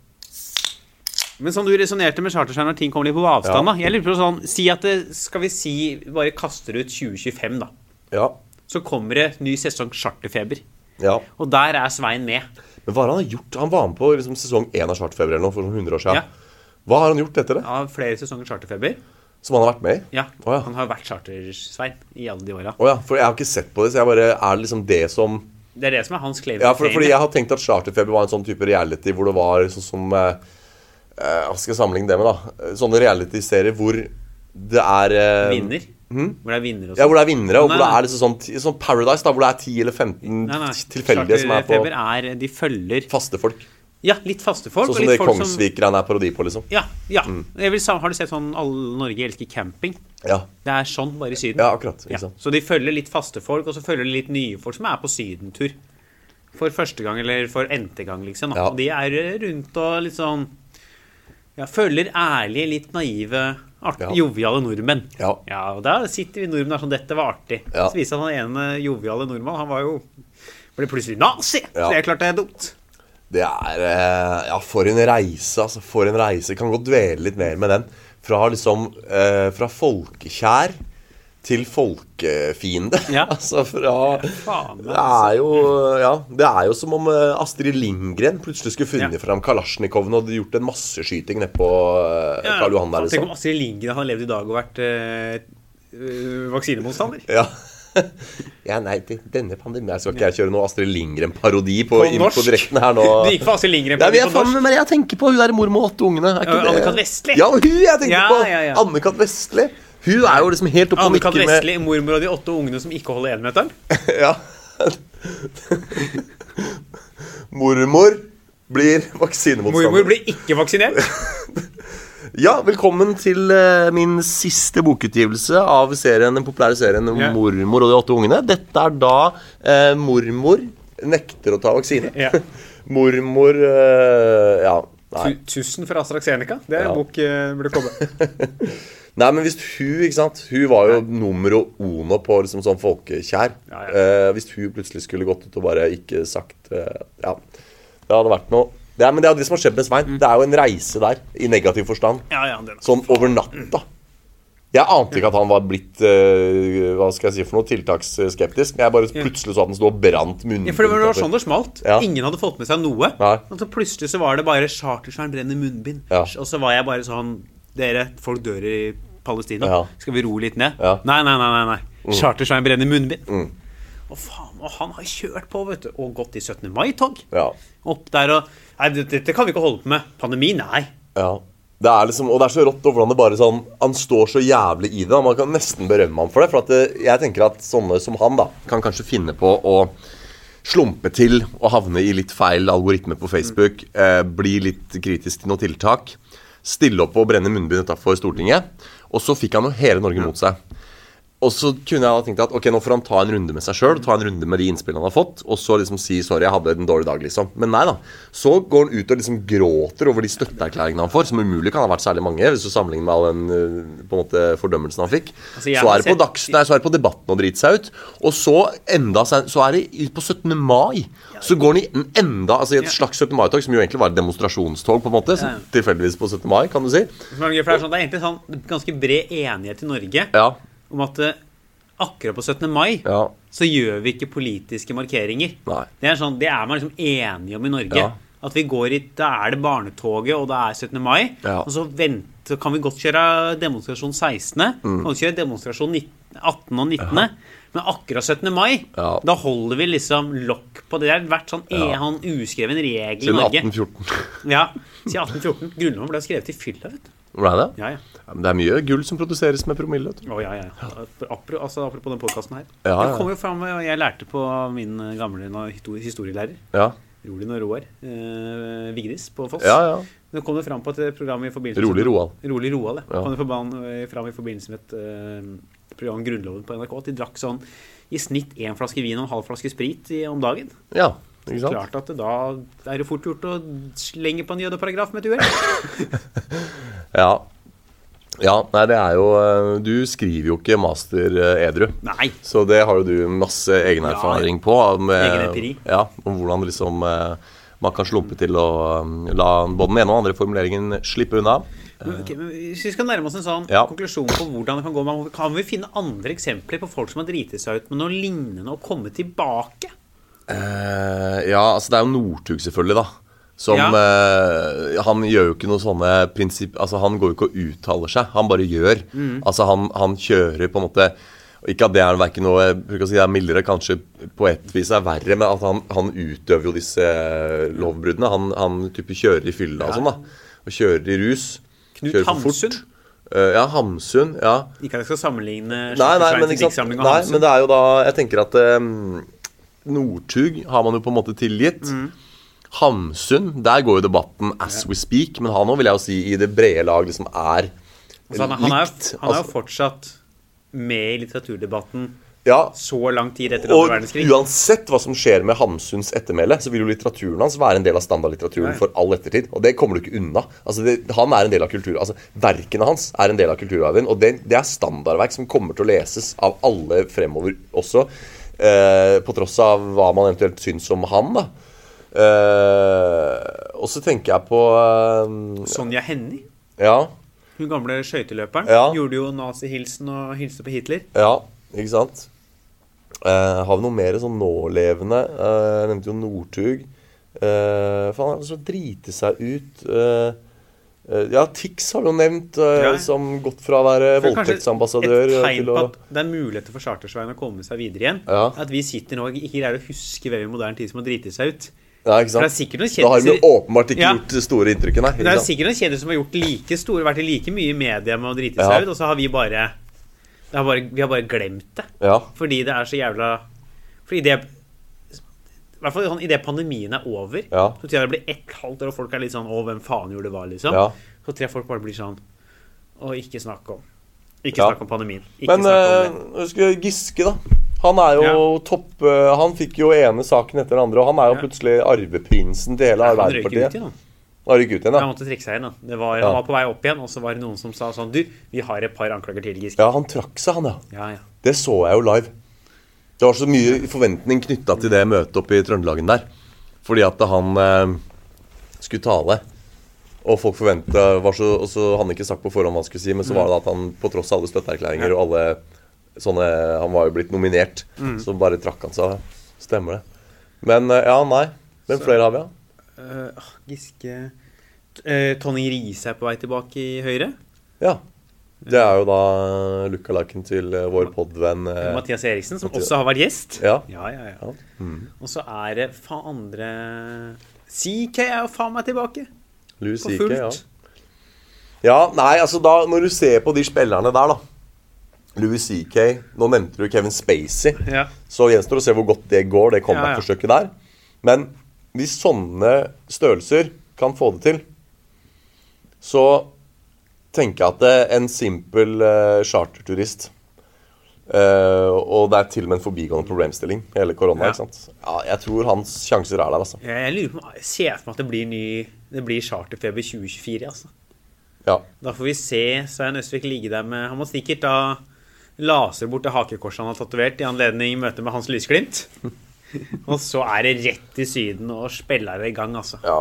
B: Men som du resonnerte med charterskjerm når ting kommer litt på avstand,
C: Ja.
B: da. Jeg lurer på sånn, si at det, Skal vi si bare kaster ut 2025, da.
C: Ja.
B: Så kommer det ny sesong charterfeber.
C: ja.
B: Og der er Svein med.
C: Men hva har han gjort? Han var med på liksom, sesong én av Svartfeber eller noe for sånn 100 år
B: Ja.
C: siden. Hva har han gjort etter det?
B: Av flere sesonger charterfeber.
C: Som han har vært med i?
B: Ja,
C: Å,
B: Han har jo vært charter-Svein i alle de åra.
C: Å ja, for jeg har ikke sett på det, så jeg bare Er det liksom det som
B: Det er det som er hans claim.
C: Ja,
B: to
C: for,
B: fame.
C: fordi jeg har tenkt at Charterfeber var en sånn type reality hvor det var sånn som eh, eh, Hva skal jeg sammenligne det med, da? Eh, Sånne realityserier hvor det er eh,
B: Vinner. Hvor det er vinner og
C: Ja, hvor det er vinnere, og
B: Nei,
C: hvor det
B: nei.
C: er liksom sånn, t- sånn Paradise, da, hvor det er 10 eller 15
B: Nei, nei.
C: tilfeldige som er på
B: Charterfeber er eh, De følger
C: faste folk.
B: Ja, litt faste folk.
C: Sånn
B: og
C: som
B: litt
C: det
B: folk som-
C: Kongsvik-greiene er parodi på, liksom.
B: Ja. ja. Jeg vil, sa- har du sett sånn Alle Norge elsker camping?
C: Ja,
B: Det er sånn, bare i Syden.
C: ja akkurat.
B: Ja.
C: Ikke sant?
B: Så de følger litt faste folk, og så følger de litt nye folk som er på sydentur. For første gang, eller for n-te gang, liksom. Da.
C: Ja.
B: Og de er rundt og litt sånn ja, Følger ærlige, litt naive, art-
C: Ja.
B: joviale nordmenn.
C: Ja.
B: og der sitter vi nordmenn der sånn Dette var artig.
C: Ja.
B: Så viser det seg at han ene joviale nordmann, han var jo ble plutselig nazi!
C: Ja.
B: Så det er klart det er dumt.
C: Det er eh, Ja, for en reise, altså. For en reise. Kan godt dvele litt mer med den. Fra liksom eh, Fra folkekjær til folkefiende.
B: Ja.
C: altså fra
B: faen, altså.
C: Det er jo Ja. Det er jo som om eh, Astrid Lindgren plutselig skulle funnet
B: Ja.
C: fram Kalasjnikoven og gjort en masseskyting nedpå eh,
B: Ja,
C: Karl Johan der,
B: Tenk om
C: liksom.
B: Astrid Lindgren hadde levd i dag og vært eh, eh, vaksinemotstander.
C: Ja. ja, nei, det, denne pandemien Skal ikke jeg kjøre noe Astrid Lindgren-parodi på,
B: På
C: inn
B: norsk?
C: på direkten her nå?
B: Du gikk for Astrid Lindgren
C: Nei, men
B: på
C: jeg, faen, men jeg tenker på hun der mor med åtte ungene. Er ikke
B: Ja,
C: det-
B: Anne-Kat. Vestli.
C: Ja, hun jeg tenker
B: Ja,
C: på!
B: ja, ja.
C: Anne-Kat. Vestli. Hun er jo liksom helt oppe og
B: Anne-Kat.
C: nikker med
B: Vestli, mormor og de åtte ungene som ikke holder énmeteren.
C: ja. Mormor blir
B: Mormor
C: vaksinemotstander.
B: blir ikke vaksinert.
C: Ja, velkommen til eh, min siste bokutgivelse av serien, den populære serien
B: Ja.
C: 'Mormor og de åtte ungene'. Dette er da eh, mormor nekter å ta vaksine.
B: Ja.
C: mormor eh, Ja. Nei.
B: Tu- Tusen for AstraZeneca. Det er en
C: Ja.
B: bok eh, burde komme.
C: Nei, men hvis hun ikke sant? Hun var jo numero uno på liksom sånn folkekjær.
B: Ja, ja.
C: Eh, hvis hun plutselig skulle gått ut og bare ikke sagt eh, Ja. Det hadde vært noe det er, Men det er det som har skjedd med Svein.
B: Mm.
C: Det er jo en reise der, i negativ forstand.
B: Ja, ja, den er.
C: Sånn over natta. Jeg ante ikke at han var blitt eh, hva skal jeg si for noe, tiltaksskeptisk. Men jeg bare plutselig så at han sto og brant munnen.
B: Ja, for det var- det var sånn det smalt.
C: Ja.
B: Ingen hadde fått med seg noe.
C: Nei.
B: Og så plutselig så var det bare chartersvern brenner munnbind.
C: Ja.
B: Og så var jeg bare sånn Dere, folk dør i Palestina.
C: Ja.
B: Skal vi roe litt ned?
C: Ja. Mm.
B: Nei, nei, nei. nei, nei. Chartersvern brenner munnbind. Og faen, og han har kjørt på, vet du. Og gått i 17. mai-tog.
C: Ja.
B: Opp der og Nei, det- dette kan vi ikke holde på med. Pandemi, nei.
C: Ja. Det er liksom, og det er så rått og hvordan det bare sånn Han står så jævlig i det. og Man kan nesten berømme ham for det. For at eh, jeg tenker at sånne som han da kan kanskje finne på å slumpe til og havne i litt feil algoritme på Facebook. Eh, bli litt kritisk til noen tiltak. Stille opp og brenne munnbind utafor Stortinget. Og så fikk han jo hele Norge mot seg. Og så kunne jeg ha tenkt at ok, nå får han ta en runde med seg sjøl ta en runde med de innspillene han har fått, og så liksom si 'sorry, jeg hadde en dårlig dag', liksom. Men nei da. Så går han ut og liksom gråter over de støtteerklæringene han får, som umulig kan ha vært særlig mange, hvis du sammenligner med all den eh, på en måte, fordømmelsen han fikk.
B: Altså, jeg
C: så
B: har
C: er det på
B: sett-
C: dags, nei, så er det på debatten og drite seg ut. Og så enda sen- så er det i- på 17. mai. Så går han i en enda altså i et slags 17. mai-tog, som jo egentlig var et demonstrasjonstog, på en måte, som tilfeldigvis på 17. mai, kan du si.
B: Som er gøy, for Det er sånn, det er egentlig sånn ganske bred enighet i Norge
C: Ja.
B: om at eh, akkurat på 17. mai
C: Ja.
B: så gjør vi ikke politiske markeringer.
C: Nei.
B: Det er, sånn, det er man liksom enige om i Norge.
C: Ja.
B: At vi går i, Da er det barnetoget, og det er 17. mai.
C: Ja.
B: Og så vent, så kan vi godt kjøre demonstrasjon 16.
C: Mm.
B: Kan vi kjøre demonstrasjon 19, 18 og 19. Men akkurat 17. mai,
C: Ja.
B: da holder vi liksom lokk på det. Det har vært sånn en han uskreven regel i
C: Siden
B: Norge.
C: 1814.
B: Ja, Siden 1814. Grunnloven ble skrevet i fylla, vet du.
C: Var det det?
B: Ja, ja.
C: Ja, men Det er mye gull som produseres med promille. vet du.
B: Å, ja, ja. Apro, altså, apropos den podkasten her.
C: Ja, ja.
B: Det kom jo fram, eh, og jeg lærte på min eh, gamle na- histori- historielærer,
C: Ja.
B: Rolin og Roar eh, Vigdis på Foss.
C: Ja, ja.
B: Nå kom det fram på et eh, program i forbindelse
C: Rolig Roald.
B: Rolig Roald, ja.
C: Ja.
B: Kom det forban, fram i forbindelse med et eh, program om Grunnloven på NRK at de drakk sånn i snitt én flaske vin og en halv flaske sprit i, om dagen.
C: Ja, ikke sant?
B: Klart at det, da er det fort gjort å slenge på en jødeparagraf med et uhell.
C: Ja. ja. Nei, det er jo eh, Du skriver jo ikke master eh, edru.
B: Nei.
C: Så det har jo du masse egen
B: Ja.
C: erfaring på. Med,
B: Egen empiri.
C: Ja, om hvordan liksom eh, man kan slumpe til å eh, la både den ene og den andre formuleringen slippe unna.
B: Men, ok, men hvis vi skal nærme oss en sånn
C: Eh. Ja.
B: konklusjon på hvordan det kan gå man- Kan vi finne andre eksempler på folk som har driti seg ut med noe lignende og kommet tilbake?
C: Eh, ja, altså det er jo Northug selvfølgelig, da. Som
B: Ja.
C: eh, Han gjør jo ikke noe sånne prinsipp Altså Han går jo ikke og uttaler seg, han bare gjør.
B: Mm.
C: Altså han, han kjører på en måte Ikke at det er hverken noe jeg bruker å si det er mildere, kanskje på et vis er verre, men at han, han utøver jo disse eh, lovbruddene. Han, han type kjører i fylla og sånn, da. Og kjører i rus.
B: Knut
C: kjører for
B: Hamsun?
C: fort. Eh, ja, Hamsun. Ja.
B: Ikke at jeg skal sammenligne
C: Nei, nei,
B: Schleifenstein
C: men,
B: sin
C: ikke sant?
B: diktsamling og
C: nei,
B: Hamsun.
C: men det er jo da Jeg tenker at eh, Northug har man jo på en måte tilgitt.
B: Mm.
C: Hamsun, der går jo debatten as we speak, men han òg vil jeg jo si i det brede lag liksom er
B: altså, han, han, er,
C: likt.
B: jo- han er jo
C: Altså,
B: fortsatt med i litteraturdebatten
C: ja,
B: så lang tid etter
C: og
B: andre verdenskrig.
C: uansett hva som skjer med Hamsuns ettermæle, så vil jo litteraturen hans være en del av standardlitteraturen
B: Ja, ja.
C: for all ettertid. Og det kommer du ikke unna. Altså, det, han er en del av kultur, altså, Verkene hans er en del av kulturarven, og det, det er standardverk som kommer til å leses av alle fremover også. Eh, på tross av hva man eventuelt syns om han, da. Eh, og så tenker jeg på eh,
B: Sonja Hennie,
C: Ja,
B: hun gamle skøyteløperen,
C: Ja.
B: gjorde jo nazihilsen og hilste på Hitler.
C: ja, ikke sant? Eh, har vi noe mer sånn nålevende? Eh, jeg nevnte jo Northug. Eh, faen, han så drite seg ut eh, eh, Ja, Tix har vi jo nevnt, eh,
B: Ja.
C: som gått fra å
B: Det
C: være
B: er kanskje
C: voldtektsambassadør eh,
B: Et tegn
C: til å
B: på at det er muligheter for Chartersveien å komme seg videre igjen.
C: Ja.
B: At vi sitter nå og ikke greier å huske hvem i moderne tid som har driti seg ut.
C: Ja,
B: For
C: ikke
B: det
C: sant?
B: er sikkert noen
C: Da har vi jo
B: kjendiser
C: åpenbart ikke
B: Ja.
C: gjort det store inntrykket, nei.
B: Det er
C: ikke
B: jo
C: sant?
B: sikkert noen kjendiser som har gjort like store, vært i like mye i media med å drite
C: Ja.
B: seg ut, og så har vi bare, det har bare Vi har bare glemt det.
C: Ja.
B: Fordi det er så jævla Fordi det i hvert fall sånn, Idet pandemien er over,
C: Ja.
B: så tror jeg det blir ett halvt år, og folk er litt sånn Å, hvem faen gjorde hva? liksom
C: Ja.
B: Så tror jeg folk bare blir sånn Å, ikke snakk om Ikke
C: Ja.
B: snakk om pandemien. Ikke
C: Men
B: snakk om det.
C: eh, husker Giske, da. Han er jo topp eh, Han fikk jo ene saken etter den andre, og han er
B: Ja.
C: jo plutselig arveprinsen til hele
B: Han røyk ut
C: Arbeiderpartiet.
B: igjen, da.
C: Han røyk ut igjen,
B: Han
C: ja.
B: måtte trekke seg igjen. da. Det var,
C: Ja.
B: Han var på vei opp igjen, og så var det noen som sa sånn Du, vi har et par anklager til, Giske.
C: Ja, han trakk seg, han, ja.
B: Ja, ja.
C: Det så jeg jo live. Det var så mye forventning knytta til det møtet oppe i Trøndelagen der. Fordi at han eh, skulle tale, og folk forventa Og så hadde han ikke sagt på forhånd hva han skulle si, men så var det at han på tross av alle støtteerklæringer og alle sånne Han var jo blitt nominert, så bare trakk han seg. Stemmer det. Men eh, ja, nei. Hvem flere har vi, da?
B: Eh, åh, Giske uh, Tonning Riise er på vei tilbake i Høyre.
C: Ja. Det er jo da lookaliken til eh, vår podvenn eh,
B: Mathias Eriksen, som
C: Mathias-
B: også har vært gjest.
C: Ja.
B: ja, ja. ja.
C: Ja.
B: Og så er det faen andre CK er jo faen meg tilbake.
C: Louis
B: På
C: Seeke,
B: fullt.
C: ja. Ja, nei, altså da, når du ser på de spillerne der, da Louis CK, nå nevnte du Kevin Spacey.
B: Ja.
C: Så gjenstår det å se hvor godt det går, det comeback-forsøket der. Men hvis sånne størrelser kan få det til, så tenker jeg at eh, en simpel eh, charterturist Eh, og det er til og med en forbigående problemstilling, hele korona.
B: Ja.
C: ikke sant? Ja, jeg tror hans sjanser er der, altså.
B: Jeg, jeg lurer på, jeg ser for meg at det blir ny Det blir charterfeber 2024, altså.
C: Ja.
B: Da får vi se Svein Østvik ligge der med Han må sikkert da laser bort det hakekorset han har tatovert i anledning møtet med Hans Lysglimt. Og så er det rett i Syden og spiller i gang, altså.
C: ja.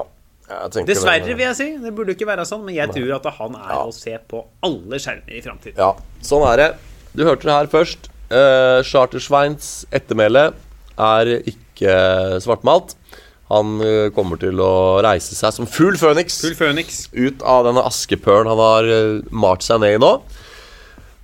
C: Jeg tenker
B: Dessverre,
C: det-
B: vil jeg si. Det burde jo ikke være sånn, men jeg tror at han er å se på alle skjermer i framtiden.
C: Ja, sånn er det. Du hørte det her først. Eh, Chartersveins ettermæle er ikke svartmalt. Han eh, kommer til å reise seg som full føniks
B: Full Phoenix.
C: ut av denne askepølen han har eh, malt seg ned i nå.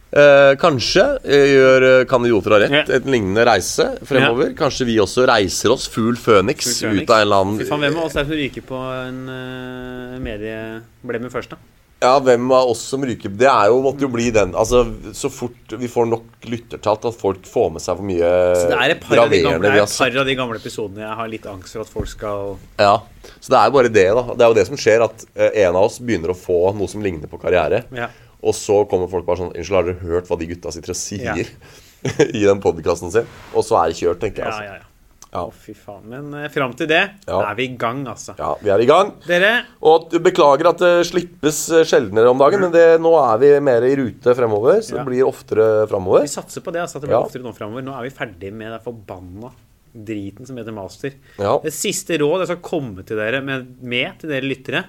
C: Eh, kanskje eh, gjør eh, kan idioter ha rett
B: Ja.
C: en lignende reise fremover. Kanskje vi også reiser oss full føniks
B: Full Phoenix.
C: ut av en eller
B: Fy faen, hvem
C: annen
B: av oss er det som ryker på en eh, medie... Ble med først, da?
C: Ja, hvem av oss som ryker Det er jo, måtte jo bli den. Altså, Så fort vi får nok lyttertall til at folk får med seg hvor mye
B: Det er et par, av de, gamle,
C: Eh, graverende
B: det
C: vi
B: er
C: har
B: et
C: sagt.
B: par av de gamle episodene jeg har litt angst for at folk skal
C: Ja, Så det er jo bare det, da. Det er jo det som skjer, at eh, en av oss begynner å få noe som ligner på karriere.
B: Ja.
C: Og så kommer folk bare sånn Unnskyld, har dere hørt hva de gutta sitter og sier
B: Ja.
C: i den podkasten sin? Og så er det kjørt, tenker
B: Ja,
C: jeg.
B: ja, ja. Å,
C: altså.
B: fy faen. Men eh, fram til det
C: Ja.
B: er vi i gang, altså.
C: Ja. ja, vi er i gang.
B: Dere,
C: Og t- beklager at det slippes eh, sjeldnere om dagen, men det, nå er vi mer i rute fremover. Så
B: Ja.
C: det blir oftere fremover.
B: vi satser på det. altså, at det blir
C: Ja.
B: oftere Nå fremover. Nå er vi ferdig med den forbanna driten som heter master.
C: Ja.
B: Det siste råd jeg skal komme til dere med, med til dere lyttere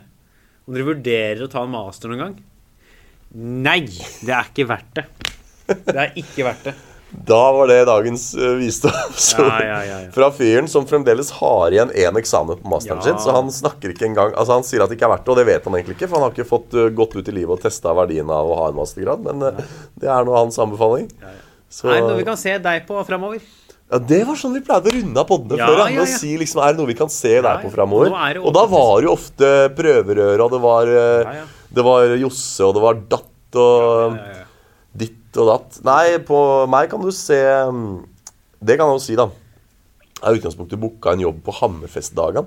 B: Om dere vurderer å ta en master noen gang Nei! Det er ikke verdt det. Det er ikke verdt det.
C: Da var det dagens eh, visdom. Så,
B: Ja, ja, ja, ja.
C: Fra fyren som fremdeles har igjen én eksamen på masteren
B: Ja.
C: sin. Så han snakker ikke engang Altså han sier at det ikke er verdt det, og det vet han egentlig ikke. For han har ikke fått eh, gått ut i livet og testa verdien av å ha en mastergrad. Men eh, det er nå hans anbefaling. Så,
B: Er det noe vi kan se deg på framover?
C: ja, det var sånn vi pleide å runde av podene
B: Ja,
C: før. Ja,
B: ja, ja.
C: med å si liksom, Er det noe vi kan se der på
B: ja.
C: framover?
B: Nå er det
C: Og da
B: åpent.
C: var det jo ofte prøverør, og det var, eh,
B: Ja, ja.
C: Det var Josse, og det var Datt og
B: ja, ja.
C: ditt og datt. Nei, på meg kan du se mm, Det kan jeg jo si, da. Jeg har i utgangspunktet booka en jobb på Hammerfest-dagene.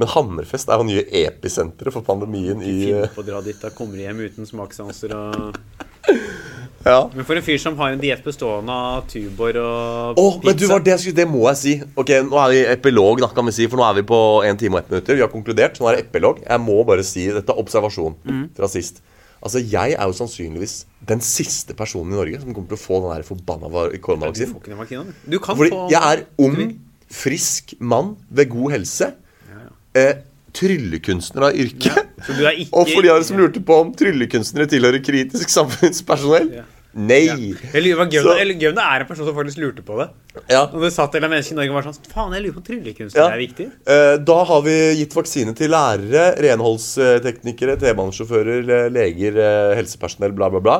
C: Men Hammerfest er jo nye episenteret for pandemien i
B: Finne på å dra dit. Da kommer du hjem uten smakssanser og
C: ja.
B: Men for en fyr som har en diett bestående av Tubor og
C: Å, men du, var det, jeg skulle- det må jeg si. Ok, Nå er vi i epilog, da, kan vi si, for nå er vi på 1 time og 1 minutter. Vi har konkludert. Nå er det epilog. Jeg må bare si Dette er observasjon fra sist. Altså, Jeg er jo sannsynligvis den siste personen i Norge som kommer til å få den her forbanna var-
B: Du
C: koronavaksinen.
B: får ikke den vaksinen. Du kan
C: Fordi
B: få
C: jeg er ung, frisk mann ved god helse. Eh, tryllekunstner av yrke.
B: Så du er ikke
C: Og for de av dere som lurte på om tryllekunstnere tilhører kritisk samfunnspersonell
B: Ja.
C: Nei!
B: ja. Jeg lurer på
C: Så-
B: Gøvna, eller Gøvna er en person som faktisk lurte på det.
C: Ja.
B: Og det satt en eller annen menneske i Norge og var sånn Faen, jeg lurer på om tryllekunst
C: Ja.
B: er viktig.
C: Eh, Da har vi gitt vaksine til lærere, renholdsteknikere, T-banesjåfører, eh, leger, eh, helsepersonell, bla, bla, bla.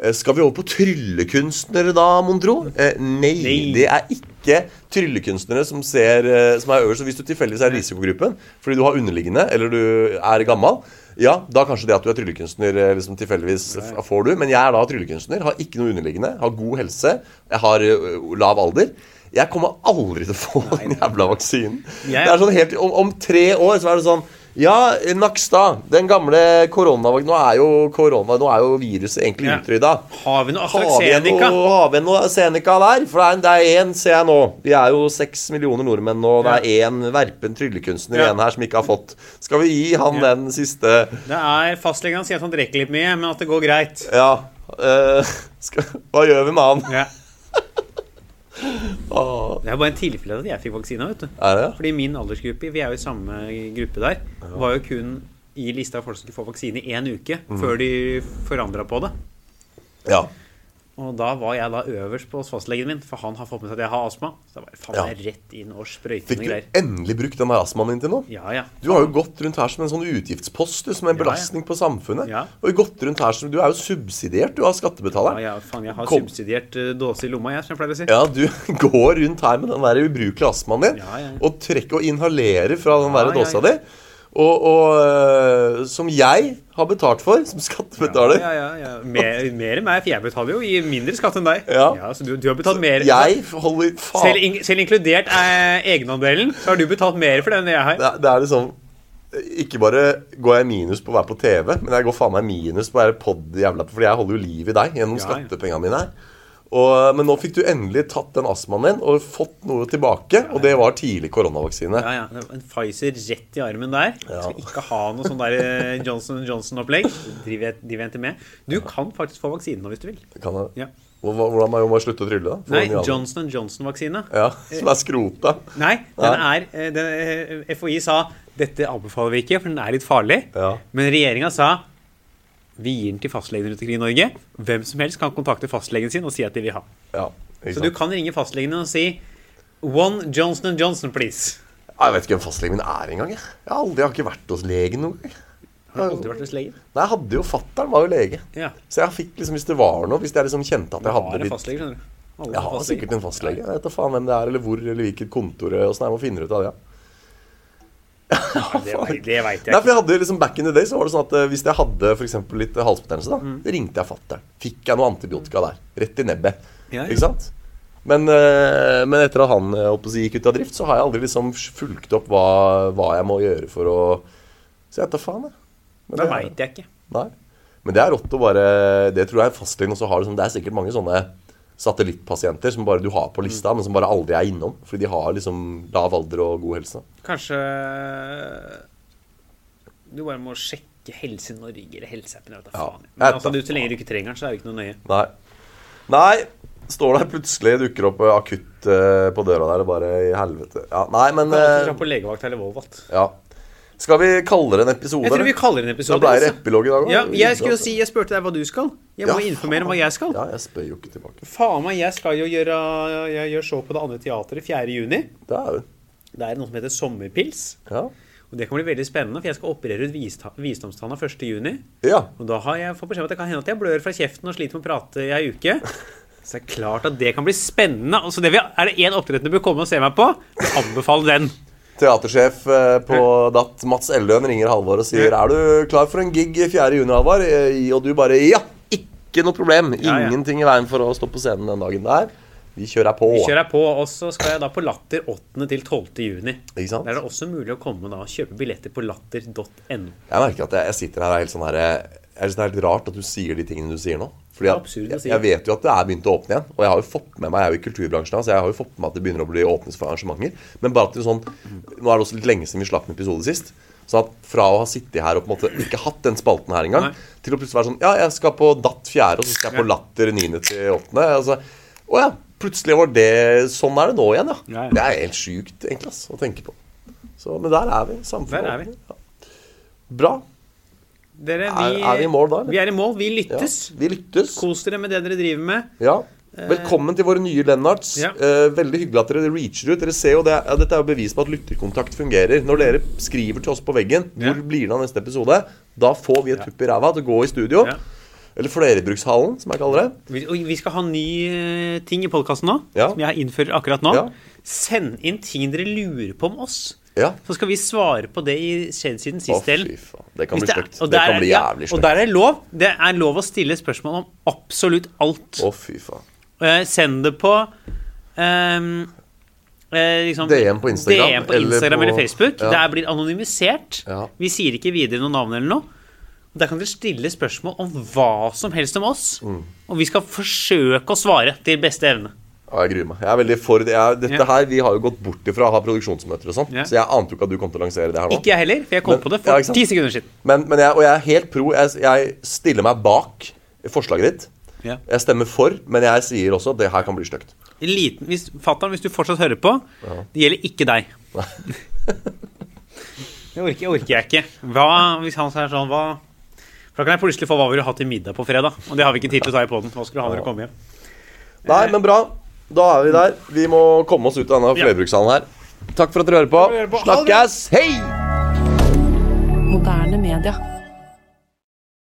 C: Eh, Skal vi over på tryllekunstnere da, mon tro? Eh, Nei,
B: Nei.
C: det er ikke tryllekunstnere som, ser, eh, som er øverst. Og Hvis du tilfeldigvis er i risikogruppen fordi du har underliggende eller du er gammel, ja, da kanskje det at du er tryllekunstner eh, liksom tilfeldigvis f- får du. Men jeg er da tryllekunstner, har ikke noe underliggende, har god helse, jeg har eh, lav alder. Jeg kommer aldri til å få den jævla vaksinen.
B: Jeg-
C: Det er sånn helt, om, om tre år så er det sånn Ja, Nakstad, den gamle koronavaksinen Nå er jo korona, nå er jo viruset egentlig
B: Ja.
C: utrydda.
B: Har vi noe
C: Har vi en-
B: AstraZeneca?
C: og- Har vi noe Seneca der? For det er en- det er én, ser jeg nå. Vi er jo seks millioner nordmenn nå. og Det er én verpen tryllekunstner
B: Ja.
C: igjen her som ikke har fått. Skal vi gi han
B: Ja.
C: den siste
B: Det er Fastlegen han sier at han drikker litt mye, men at det går greit.
C: Ja. eh, skal, hva gjør vi med han?
B: Ja.
C: Åh,
B: Det er bare en tilfelle at jeg fikk vaksina, vet du.
C: Er det?
B: Fordi min aldersgruppe, vi er jo i samme gruppe der, var jo kun i lista av folk som skulle få vaksine i én uke
C: Mm.
B: før de forandra på det.
C: Ja.
B: Og da var jeg da øverst på hos fastlegen min, for han har fått med seg at jeg har astma. Så da var jeg faen
C: Ja.
B: jeg er rett inn og sprøyte
C: Fikk
B: noen
C: du
B: greier.
C: endelig brukt den der astmaen din til noe?
B: Ja, ja.
C: Du har jo gått rundt her som en sånn utgiftspost, du, som en
B: Ja, ja.
C: belastning på samfunnet.
B: Ja.
C: Og gått rundt her som, Du er jo subsidiert, du, av
B: ja,
C: skattebetaleren.
B: ja faen, jeg har
C: Kom.
B: subsidiert eh, dåse i lomma, jeg, som jeg pleier å si.
C: Ja, du går rundt her med den der ubrukelige astmaen din
B: Ja, ja.
C: og trekker og inhalerer fra den der
B: Ja, ja,
C: dåsa
B: ja.
C: di. Og, og øh, som jeg har betalt for, som skattebetaler.
B: Ja, ja, ja. Mer, mer enn meg, for jeg betaler jo i mindre skatt enn deg.
C: Ja.
B: Så du, du har betalt mer.
C: Jeg holder faen
B: Selv, in, selv inkludert eh, egenandelen, så har du betalt mer for den enn jeg har.
C: det, er- det er liksom Ikke bare går jeg minus på å være på TV, men jeg går faen meg minus på å være pod jævla Fordi jeg holder jo liv i deg gjennom
B: Ja, ja.
C: skattepengene mine her. Og, men nå fikk du endelig tatt den astmaen din og fått noe tilbake. Og det var tidlig koronavaksine.
B: Ja, ja. det var En Pfizer rett i armen der. Skal ikke ha noe sånn der eh, Johnson Johnson-opplegg. Driver jeg- driver jeg ikke med. Du kan faktisk få vaksinen nå hvis du vil.
C: Kan jeg,
B: Ja.
C: Hvor- hvor- Hvordan må jeg- må jeg slutte å trylle, da? Få
B: Nei,
C: den i hånden.
B: Johnson Johnson-vaksine.
C: Ja, Som er skrota.
B: Nei, den er eh, den, eh, FHI sa dette anbefaler vi ikke, for den er litt farlig.
C: Ja.
B: Men regjeringa sa vi gir den til fastlegene rundt omkring i Norge. Hvem som helst kan kontakte fastlegen sin og si at de vil ha.
C: Ja, ikke
B: Så
C: sant?
B: du kan ringe fastlegene og si One Johnson Johnson, please.
C: Ja, Jeg vet ikke hvem fastlegen min er engang. Jeg. Jeg, har aldri, jeg har ikke vært hos legen noen gang.
B: Har du aldri vært hos legen?
C: Nei, jeg hadde jo fatter'n, var jo lege.
B: Ja.
C: Så jeg fikk liksom, hvis det var noe, hvis jeg liksom kjente at jeg hadde
B: Bare
C: litt
B: fastlege, skjønner du. Alle
C: Jeg har
B: fastleger.
C: sikkert en fastlege. Jeg vet da faen hvem det er, eller hvor, eller hvilket kontor. og sånn, Jeg må finne ut av det. ja.
B: Det veit det vet jeg
C: Nei, for
B: ikke.
C: jeg hadde liksom Back in the day så var det sånn at eh, hvis jeg hadde for eksempel litt eh, halsbetennelse, da,
B: Mm.
C: ringte jeg fatter'n. Fikk jeg noe antibiotika der. Rett i nebbet.
B: Ja, ja.
C: Ikke sant? Men, eh, men etter at han eh, holdt på å si, gikk ut av drift, så har jeg aldri liksom fulgt opp hva, hva jeg må gjøre for å Så jeg vet da faen, jeg. Men
B: Det
C: det-
B: vet jeg ikke.
C: Nei. Men det er rått å bare Det tror jeg fastlegen også har. Liksom, det er sikkert mange sånne satellittpasienter som bare du har på lista,
B: Mm.
C: men som bare aldri er innom. Fordi de har liksom lav alder og god helse.
B: Kanskje eh, du bare må sjekke Helse Norge eller Helseappen. Jeg vet da
C: Ja.
B: faen. Men
C: Jeg vet
B: altså,
C: da
B: du, så lenge du ikke trenger den, så er det ikke noe nøye.
C: Nei. Nei. Står der plutselig dukker opp eh, akutt eh, på døra der og bare i helvete. Ja, nei, men
B: Du kan alltid
C: eh,
B: dra på legevakt eller Volvat.
C: ja. Skal vi kalle det en episode?
B: Jeg tror
C: eller?
B: vi kaller det en episode.
C: Da ble det
B: altså.
C: epilog i dag også.
B: Ja, jeg skulle jo si, jeg spurte deg hva du skal. Jeg må
C: Ja,
B: informere om hva
C: faen.
B: jeg skal.
C: Ja, jeg spør jo ikke tilbake.
B: Faen meg, jeg skal jo gjøre Jeg gjør show på Det andre teatret 4. juni.
C: Det er jo
B: Det er noe som heter Sommerpils.
C: Ja.
B: Og det kan bli veldig spennende, for jeg skal operere ut vista- visdomstanna 1. juni.
C: ja.
B: Og da har jeg fått beskjed om at det kan hende at jeg blør fra kjeften og sliter med å prate i ei uke. Så det er klart at det kan bli spennende. Og så det vi, er det én opptreden du bør komme og se meg på, anbefal den.
C: Teatersjef eh, på Datt, Mats Elløen, ringer Halvor og sier Er du klar for en gig 4. juni, Halvor? Eh, Og du bare Ja! Ikke noe problem.
B: Ja, ja.
C: Ingenting i veien for å stå på scenen den dagen der. Vi kjører på.
B: Vi kjører på, og så skal jeg da på Latter 8. til 12. juni.
C: Ikke sant?
B: Der er det også mulig å komme da og kjøpe billetter på latter.no.
C: Jeg merker at jeg, jeg sitter her og er helt sånn her Jeg jeg synes Det er helt rart at du sier de tingene du sier nå. Fordi
B: Det er
C: at-
B: absurd å
C: jeg,
B: si.
C: jeg vet jo at det er begynt å åpne igjen. Og jeg har jo fått med meg, jeg er jo i kulturbransjen, så jeg har jo fått med meg at det begynner å bli åpnes for arrangementer. Men bare at det er sånn Nå er det også litt lenge siden vi slapp en episode sist. Så at fra å ha sittet her og på en måte ikke hatt den spalten her engang,
B: Nei.
C: til å plutselig være sånn Ja, jeg skal på Datt 4, og så skal jeg på
B: Ja.
C: Latter 9. til 8. Altså, å ja. Plutselig var det Sånn er det nå igjen, ja.
B: Ja, ja.
C: Det er helt sjukt, egentlig, ass, å tenke på. Så, men der er vi. Samfunnet
B: Der er vi.
C: åpner. Ja. Bra.
B: Dere,
C: Er- er vi i mål da, eller?
B: Vi er i mål. Vi
C: Ja,
B: lyttes.
C: vi lyttes.
B: Kos dere med det dere driver med.
C: Ja. Velkommen til våre nye Lennarts.
B: Eh. Ja.
C: Eh, veldig hyggelig at dere reacher ut. Dere ser jo det, ja, Dette er jo bevis på at lytterkontakt fungerer. Når dere skriver til oss på veggen hvor
B: Ja.
C: blir det av neste episode, da får vi et tupp i ræva til å gå i studio.
B: Ja.
C: Eller flerbrukshallen, som jeg kaller det.
B: Vi, og vi skal ha ny eh, ting i podkasten nå,
C: Ja.
B: som jeg innfører akkurat nå.
C: Ja.
B: Send inn ting dere lurer på om oss.
C: Ja.
B: Så skal vi svare på det i skjedd siden
C: Å,
B: sist del.
C: fy faen. Det kan
B: Hvis
C: bli
B: det er-
C: stygt.
B: og
C: Det
B: der
C: kan
B: er-
C: bli
B: ja,
C: jævlig
B: Og
C: stygt.
B: der er lov. Det er lov å stille spørsmål om absolutt alt.
C: Å, fy faen.
B: Eh, send det på ehm, eh, liksom,
C: DM på Instagram,
B: DM på
C: eller
B: Instagram eller,
C: på-
B: Facebook.
C: ja.
B: Der blir det anonymisert.
C: Ja.
B: Vi sier ikke videre noen navn eller noe. Og Der kan dere stille spørsmål om hva som helst om oss.
C: Mm.
B: Og vi skal forsøke å svare til beste evne.
C: Ja, jeg gruer meg. Jeg er veldig for det. Jeg, dette
B: Ja.
C: her, Vi har jo gått bort ifra å ha produksjonsmøter og sånn,
B: Ja.
C: så jeg ante jo ikke at du kom til å lansere det her nå.
B: Ikke jeg heller, for jeg kom
C: Men-
B: på det
C: ja,
B: for
C: ikke sant.
B: ti sekunder siden.
C: Men, men jeg, og jeg er helt pro. Jeg, jeg stiller meg bak forslaget ditt.
B: Ja.
C: Jeg stemmer for, men jeg sier også at det her kan bli stygt.
B: En Liten, hvis, fatteren, hvis du fortsatt hører på, det gjelder ikke deg. det orker, orker jeg ikke. Hva, hvis han sier sånn, hva For da kan jeg plutselig få hva vil du ha til middag på fredag. Og det har vi ikke tid til å ta i poden. Hva skulle du ha når du kom hjem?
C: Nei, men bra. Da er vi der. Vi må komme oss ut av denne
B: Ja.
C: flerbrukshallen her. Takk for at dere hører på.
B: hører på. Ha det.
C: Snakkes! Hei!
D: Moderne media.